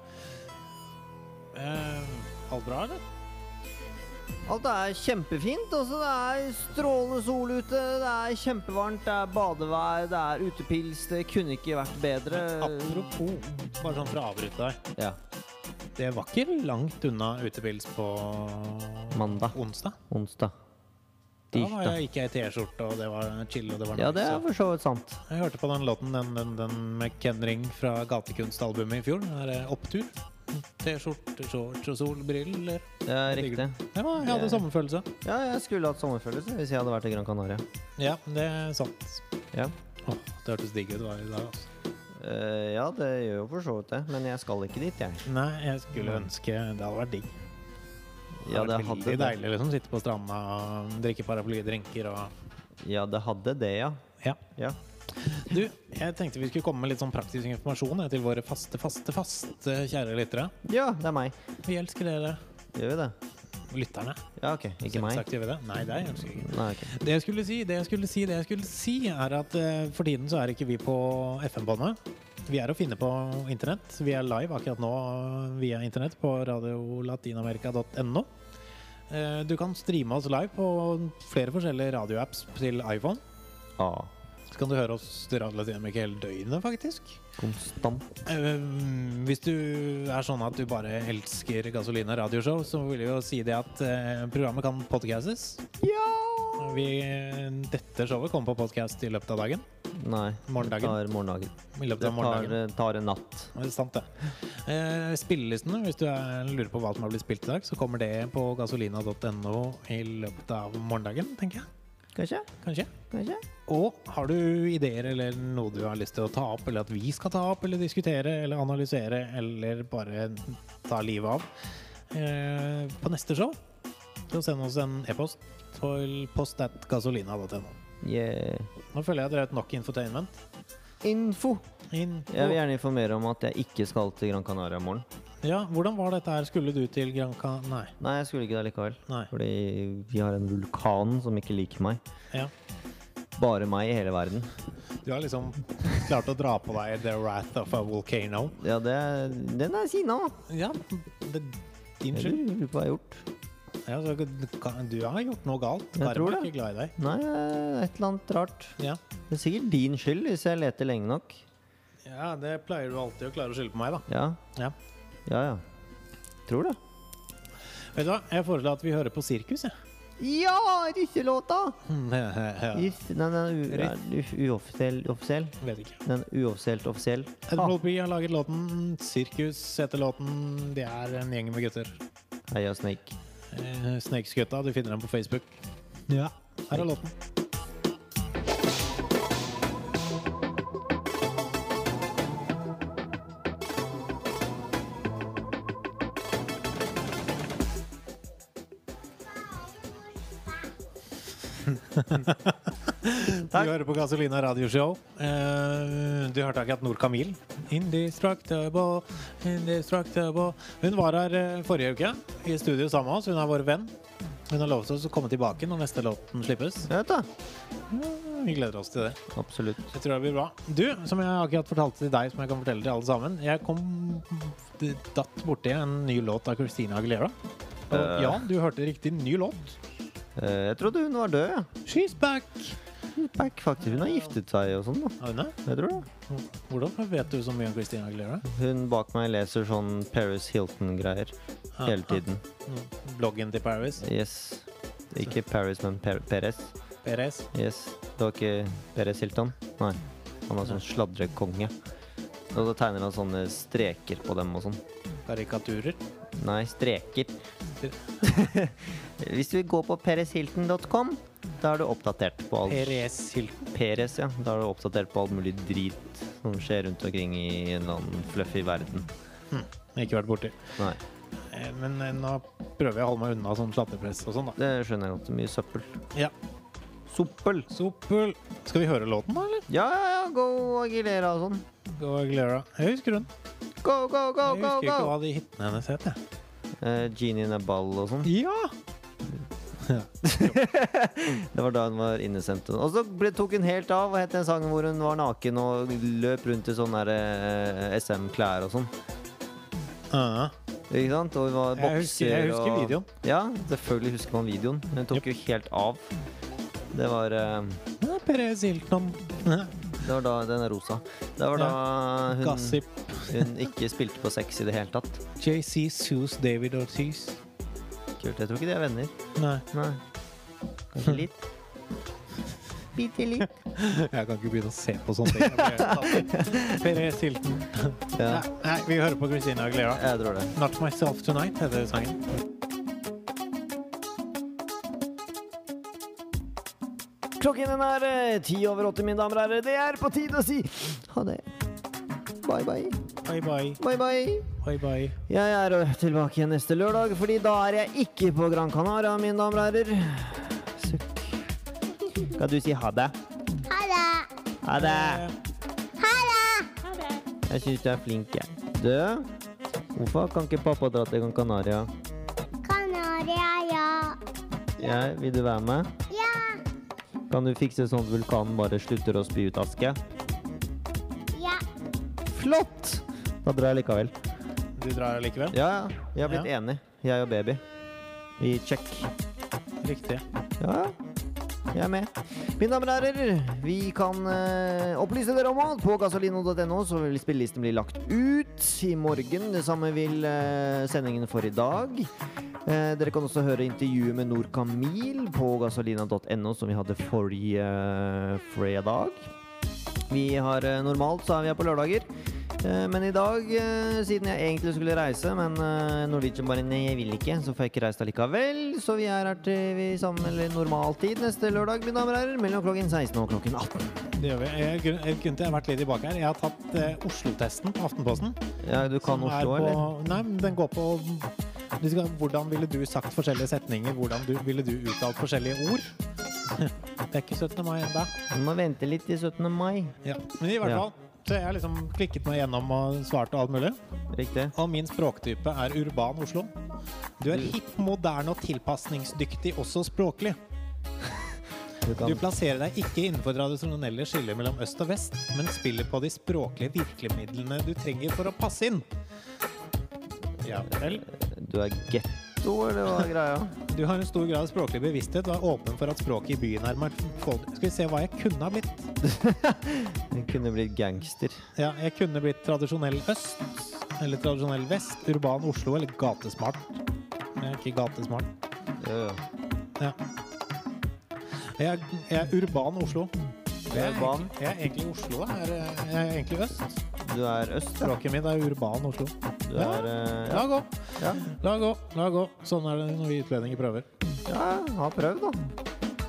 S2: Eh, alt bra, eller?
S3: Alt er kjempefint. Altså, det er strålende sol ute, det er kjempevarmt, det er badevær, det er utepils. Det kunne ikke vært bedre.
S2: Apropos, bare sånn for å avbryte deg.
S3: Ja.
S2: Det var ikke langt unna utepils på
S3: Mandag.
S2: onsdag.
S3: Onsdag.
S2: Da var
S3: Tirsdag.
S2: jeg, gikk jeg i T-skjorte, og det var chill. og det var
S3: Ja, det
S2: nice,
S3: er
S2: og-
S3: for så vidt sant.
S2: Jeg hørte på den låten, den, den, den med Ken Ring fra gatekunstalbumet i fjor. Den der eh, Opptur. T-skjorte, shorts og solbriller.
S3: Det er
S2: Jeg digger
S3: riktig.
S2: den. Ja, jeg hadde samme følelse.
S3: Ja, jeg skulle hatt sommerfølelse hvis jeg hadde vært i Gran Canaria.
S2: Ja, det er sant.
S3: Ja,
S2: Åh, det hørtes digg ut det var i dag, altså.
S3: Eh, ja det gjør jo for så vidt det, men jeg skal ikke dit, jeg.
S2: Nei, jeg skulle ønske Det hadde vært digg.
S3: Ja, Mm. det
S2: vært
S3: hadde
S2: veldig
S3: det.
S2: deilig liksom. Sitte på stranda og drikke paraplydrinker og
S3: Ja, det hadde det, ja.
S2: Ja.
S3: Ja.
S2: Du, jeg tenkte vi skulle komme med litt sånn praktisk informasjon eh, til våre faste, faste, faste kjære lyttere.
S3: ja, det er meg.
S2: Vi elsker dere.
S3: Gjør vi det?
S2: Lytterne.
S3: Ja, OK. Ikke meg.
S2: Selvsagt gjør vi det. Nei, deg ønsker vi ikke.
S3: Nei, ok.
S2: Det jeg skulle si, det jeg skulle si, det jeg skulle si, er at eh, for tiden så er ikke vi på FM-båndet. Vi er å finne på internett. Vi er live akkurat nå via internett på radiolatinamerica.no. Eh, Du kan streame oss live på flere forskjellige radioapps til iPhone.
S3: Ah,
S2: Så kan du høre oss til Radio Latinamerika hele døgnet, faktisk.
S3: konstant.
S2: Eh, Hvis du er sånn at du bare elsker Gasolina radioshow, så vil jeg jo si det at eh, programmet kan podcastes. Vi, dette showet kommer på podcast i løpet av dagen.
S3: Nei.
S2: Morgendagen.
S3: Det tar morgendagen.
S2: I løpet
S3: Det
S2: av
S3: tar, eh,
S2: morgendagen.
S3: tar en natt.
S2: Det er sant, det. Eh, spillelistene, hvis du er, lurer på hva som har blitt spilt i dag, så kommer det på gasolina.no i løpet av morgendagen, tenker jeg.
S3: Kanskje?
S2: Kanskje.
S3: Kanskje?
S2: Og har du ideer eller noe du har lyst til å ta opp, eller at vi skal ta opp, eller diskutere, eller analysere, eller bare ta livet av, eh, på neste show, så send oss en e-post til post.gasolina.no.
S3: Yeah.
S2: Nå føler jeg at dere har et nok infotainment.
S3: Info!
S2: Inn på-
S3: Jeg vil gjerne informere om at jeg ikke skal til Gran Canaria i morgen.
S2: Ja, hvordan var dette her? Skulle du til Gran Can... Nei.
S3: Nei, jeg skulle ikke det likevel.
S2: Nei.
S3: Fordi vi har en vulkan som ikke liker meg.
S2: Ja.
S3: Bare meg i hele verden.
S2: Du har liksom klart å dra på deg The Wrath of a Volcano.
S3: Ja, det er, den er sinna.
S2: Ja, det, din
S3: Jeg
S2: skyld.
S3: lurer på hva jeg har gjort.
S2: Ja, så, du kan- du har gjort noe galt.
S3: Jeg tror
S2: Karen er
S3: det.
S2: ikke glad i deg.
S3: Nei, det er et eller annet rart.
S2: Ja.
S3: Det er sikkert din skyld hvis jeg leter lenge nok.
S2: ja, det pleier du alltid å klare å skylde på meg, da.
S3: Ja,
S2: Ja.
S3: ja, ja. Tror det.
S2: Vet du hva, jeg foreslår at vi hører på sirkus, jeg.
S3: Ja, russelåta!
S2: (laughs) Ja.
S3: Riff, nei, den er u-
S2: Riff.
S3: er u- uoffisiell offisiell.
S2: Vet ikke.
S3: Den er uoffisielt offisiell.
S2: Ed
S3: Ah,
S2: Molby har laget låten. Sirkus heter låten. Det er en gjeng med gutter.
S3: Heia Ah, Snake.
S2: Eh, Snakesgutta, du finner dem på Facebook. Ja. Her er låten. Du hører på Gasolina radioshow. Eh, du hørte akkurat Nor Camille. Indestructible, indestructible. Hun var her eh, forrige uke i studio sammen med oss. Hun er vår venn. Hun har lovet oss å komme tilbake når neste låten slippes.
S3: Jeg vet da.
S2: Vi gleder oss til det.
S3: Absolutt.
S2: Jeg tror det blir bra. Du, som jeg akkurat fortalte til deg, som jeg kan fortelle til alle sammen Jeg kom det datt borti en ny låt av Christina Aguilera. Og
S3: Eh.
S2: ja, du hørte riktig. Ny låt.
S3: Eh, jeg trodde hun var død, jeg.
S2: She's back.
S3: back, faktisk. Hun har giftet seg og sånn, da.
S2: Har hun det?
S3: Jeg tror det.
S2: Hvordan vet du så mye om Christina Aguilera?
S3: Hun bak meg leser sånn Paris Hilton-greier hele tiden.
S2: Bloggen til Paris?
S3: Yes. Ikke Paris, men per Perez.
S2: Perez?
S3: Yes. Det var ikke Perez Hilton? Nei. Han var sånn sladrekonge. Og så tegner han sånne streker på dem og sånn.
S2: Karikaturer?
S3: Nei, streker. Hvis du går på perezhilton.com, da er du oppdatert på alt.
S2: Perez Hilton?
S3: Peres, ja. Da er du oppdatert på all mulig drit som skjer rundt omkring i en eller annen fluffy verden.
S2: Ikke vært borti.
S3: Nei,
S2: Eh, Men eh, nå prøver jeg å holde meg unna sånn sladrepress og sånn, da.
S3: det skjønner jeg godt. Mye søppel.
S2: Ja.
S3: Soppel!
S2: Soppel. Skal vi høre låten, da, eller?
S3: Ja, ja, ja, go Aguilera og sånn.
S2: Go Aguilera. Jeg husker hun.
S3: Go, go, go,
S2: Jeg
S3: go!
S2: husker
S3: go.
S2: ikke hva de hitene hennes het, jeg.
S3: Eh, Genie in a ball og sånn.
S2: Ja!
S3: Det var da hun var innesendt. Og så ble, tok hun helt av og het den sangen hvor hun var naken og løp rundt i sånne der, eh, SM-klær og sånn.
S2: Ah,
S3: Ikke sant? Og hun var
S2: Jeg
S3: bokser
S2: husker- jeg husker
S3: og...
S2: videoen.
S3: Ja, selvfølgelig husker man videoen. Hun tok jo helt av. Det var eh,
S2: ja, Perez Hilton. Ja,
S3: Det var da den er rosa. Det var da hun,
S2: Gossip.
S3: hun ikke spilte på sex i det hele tatt.
S2: JC Sus David Ortiz.
S3: Kult. Jeg tror ikke de er venner.
S2: Nei,
S3: Nei. (laughs) Kanskje litt. Bitte litt.
S2: jeg kan ikke begynne å se på sånne ting. Jeg blir helt tatt. (laughs) Perez Hilton.
S3: Ja,
S2: Nei, nei, vi hører på Christina Aguilera.
S3: jeg tror det.
S2: Not Myself Tonight heter sangen.
S3: Klokken den er eh, ti over åtte, mine damer og herrer. Det er på tide å si ha det. Bye, bye.
S2: Bye bye.
S3: Bye, bye.
S2: Bye bye.
S3: Jeg er eh, tilbake igjen neste lørdag, fordi da er jeg ikke på Gran Canaria, mine damer og herrer. Sukk. Skal du si ha det?
S9: Ha det!
S3: Ha det. Jeg syns du er flink, jeg. Du, hvorfor kan ikke pappa dra til Gran Canaria?
S9: Kanaria, ja.
S3: Jeg, vil du være med?
S9: Ja,
S3: Kan du fikse sånn at vulkanen bare slutter å spy ut aske?
S9: ja.
S3: Flott! Da drar jeg likevel.
S2: Du drar likevel?
S3: Ja, ja. Vi har blitt enig, jeg og baby. Vi check.
S2: Riktig.
S3: Ja, ja. Jeg er med. Mine damer og herrer, vi kan eh, opplyse dere om at på gasolino.no så vil spillelisten bli lagt ut i morgen. Det samme vil eh, sendingen for i dag. Eh, dere kan også høre intervjuet med Nor Kamil på gasolina.no, som vi hadde forrige eh, fredag. Vi har eh, Normalt så er vi her på lørdager. Eh, Men i dag, eh, siden jeg egentlig skulle reise, men eh, Norwegian bare nei, jeg vil ikke, så får jeg ikke reist allikevel. Så vi er her til vi sammen, eller normal tid neste lørdag, mine damer og herrer. Mellom klokken 16 og klokken 18.
S2: Det gjør vi. Jeg, grunn- jeg, kunne- jeg har vært litt tilbake her. Jeg har tatt eh, Oslo-testen på Aftenposten.
S3: Ja, du kan
S2: Som er
S3: Oslo,
S2: på,
S3: eller?
S2: Nei, men den går på du skal, Hvordan ville du sagt forskjellige setninger? Hvordan du, ville du uttalt forskjellige ord? (laughs) Det er ikke 17. mai ennå.
S3: Du må vente litt til 17. mai.
S2: Ja. Men i hvert
S3: Ja.
S2: fall. Så jeg har liksom klikket meg gjennom og svart og alt mulig.
S3: Riktig.
S2: Og min språktype er urban Oslo. Du
S3: Mm.
S2: er hipp, moderne og tilpasningsdyktig også språklig.
S3: Du
S2: Du
S3: kan.
S2: plasserer deg ikke innenfor tradisjonelle skiller mellom øst og vest, men spiller på de språklige virkemidlene du trenger for å passe inn. Ja vel.
S3: Du er getto, eller hva er
S2: (laughs)
S3: greia?
S2: Du har en stor grad av språklig bevissthet og er åpen for at språket i byen er mangfoldig. Skal vi se hva jeg kunne ha blitt?
S3: Jeg kunne blitt gangster.
S2: Ja, jeg kunne blitt tradisjonell øst, eller tradisjonell vest, urban Oslo, eller gatesmart. Jeg er ikke gatesmart.
S3: Ja, ja.
S2: Ja. Jeg er, jeg er urban Oslo. Jeg er,
S3: Urban.
S2: egentlig- jeg er egentlig i Oslo. da. Jeg er, jeg er egentlig øst.
S3: Du er øst, ja.
S2: Språket mitt er urban Oslo.
S3: Du er eh,
S2: La gå,
S3: ja.
S2: la gå, la gå. Sånn er det når vi utlendinger prøver.
S3: ja. Ja, har prøvd, da.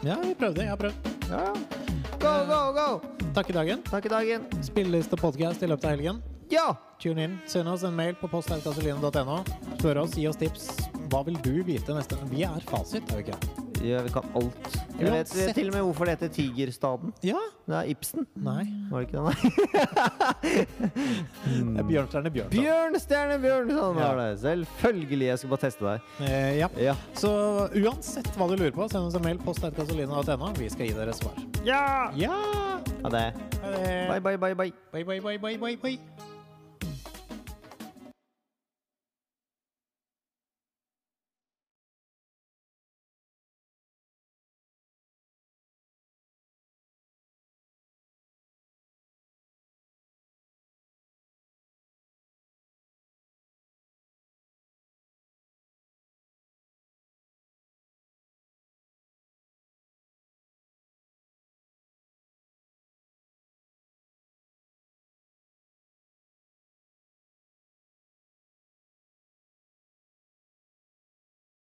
S2: Ja, vi prøvde. Jeg har prøvd.
S3: Ja, ja. Go, go, go!
S2: Takk i dagen.
S3: Takk i dagen.
S2: Spilleliste podcast i løpet av helgen.
S3: Ja!
S2: Tune in. Send oss en mail på post.gasolina.no. Spør oss, gi oss tips. Hva vil du vite neste gang? Vi er fasit, er vi ikke? det?
S3: ja vi kan alt. Jeg vet
S2: Uansett.
S3: til og med hvorfor det heter Tigerstaden.
S2: Ja?
S3: Det er Ibsen,
S2: Nei.
S3: var det ikke
S2: (laughs)
S3: det? Mm.
S2: Det er Bjørnstjerne Bjørnson.
S3: Bjørnstjerne
S2: Ja.
S3: Bjørnson var det. Selvfølgelig. Jeg skulle bare teste deg.
S2: Eh, ja.
S3: Ja.
S2: Så uansett hva du lurer på, send oss en mail. Post.gasolina.no. Vi skal gi dere svar.
S3: ja!
S2: Ja!
S3: Ha det.
S2: Ha det.
S3: Bye, bye, bye, bye.
S2: Bye, bye, bye, bye, bye, bye.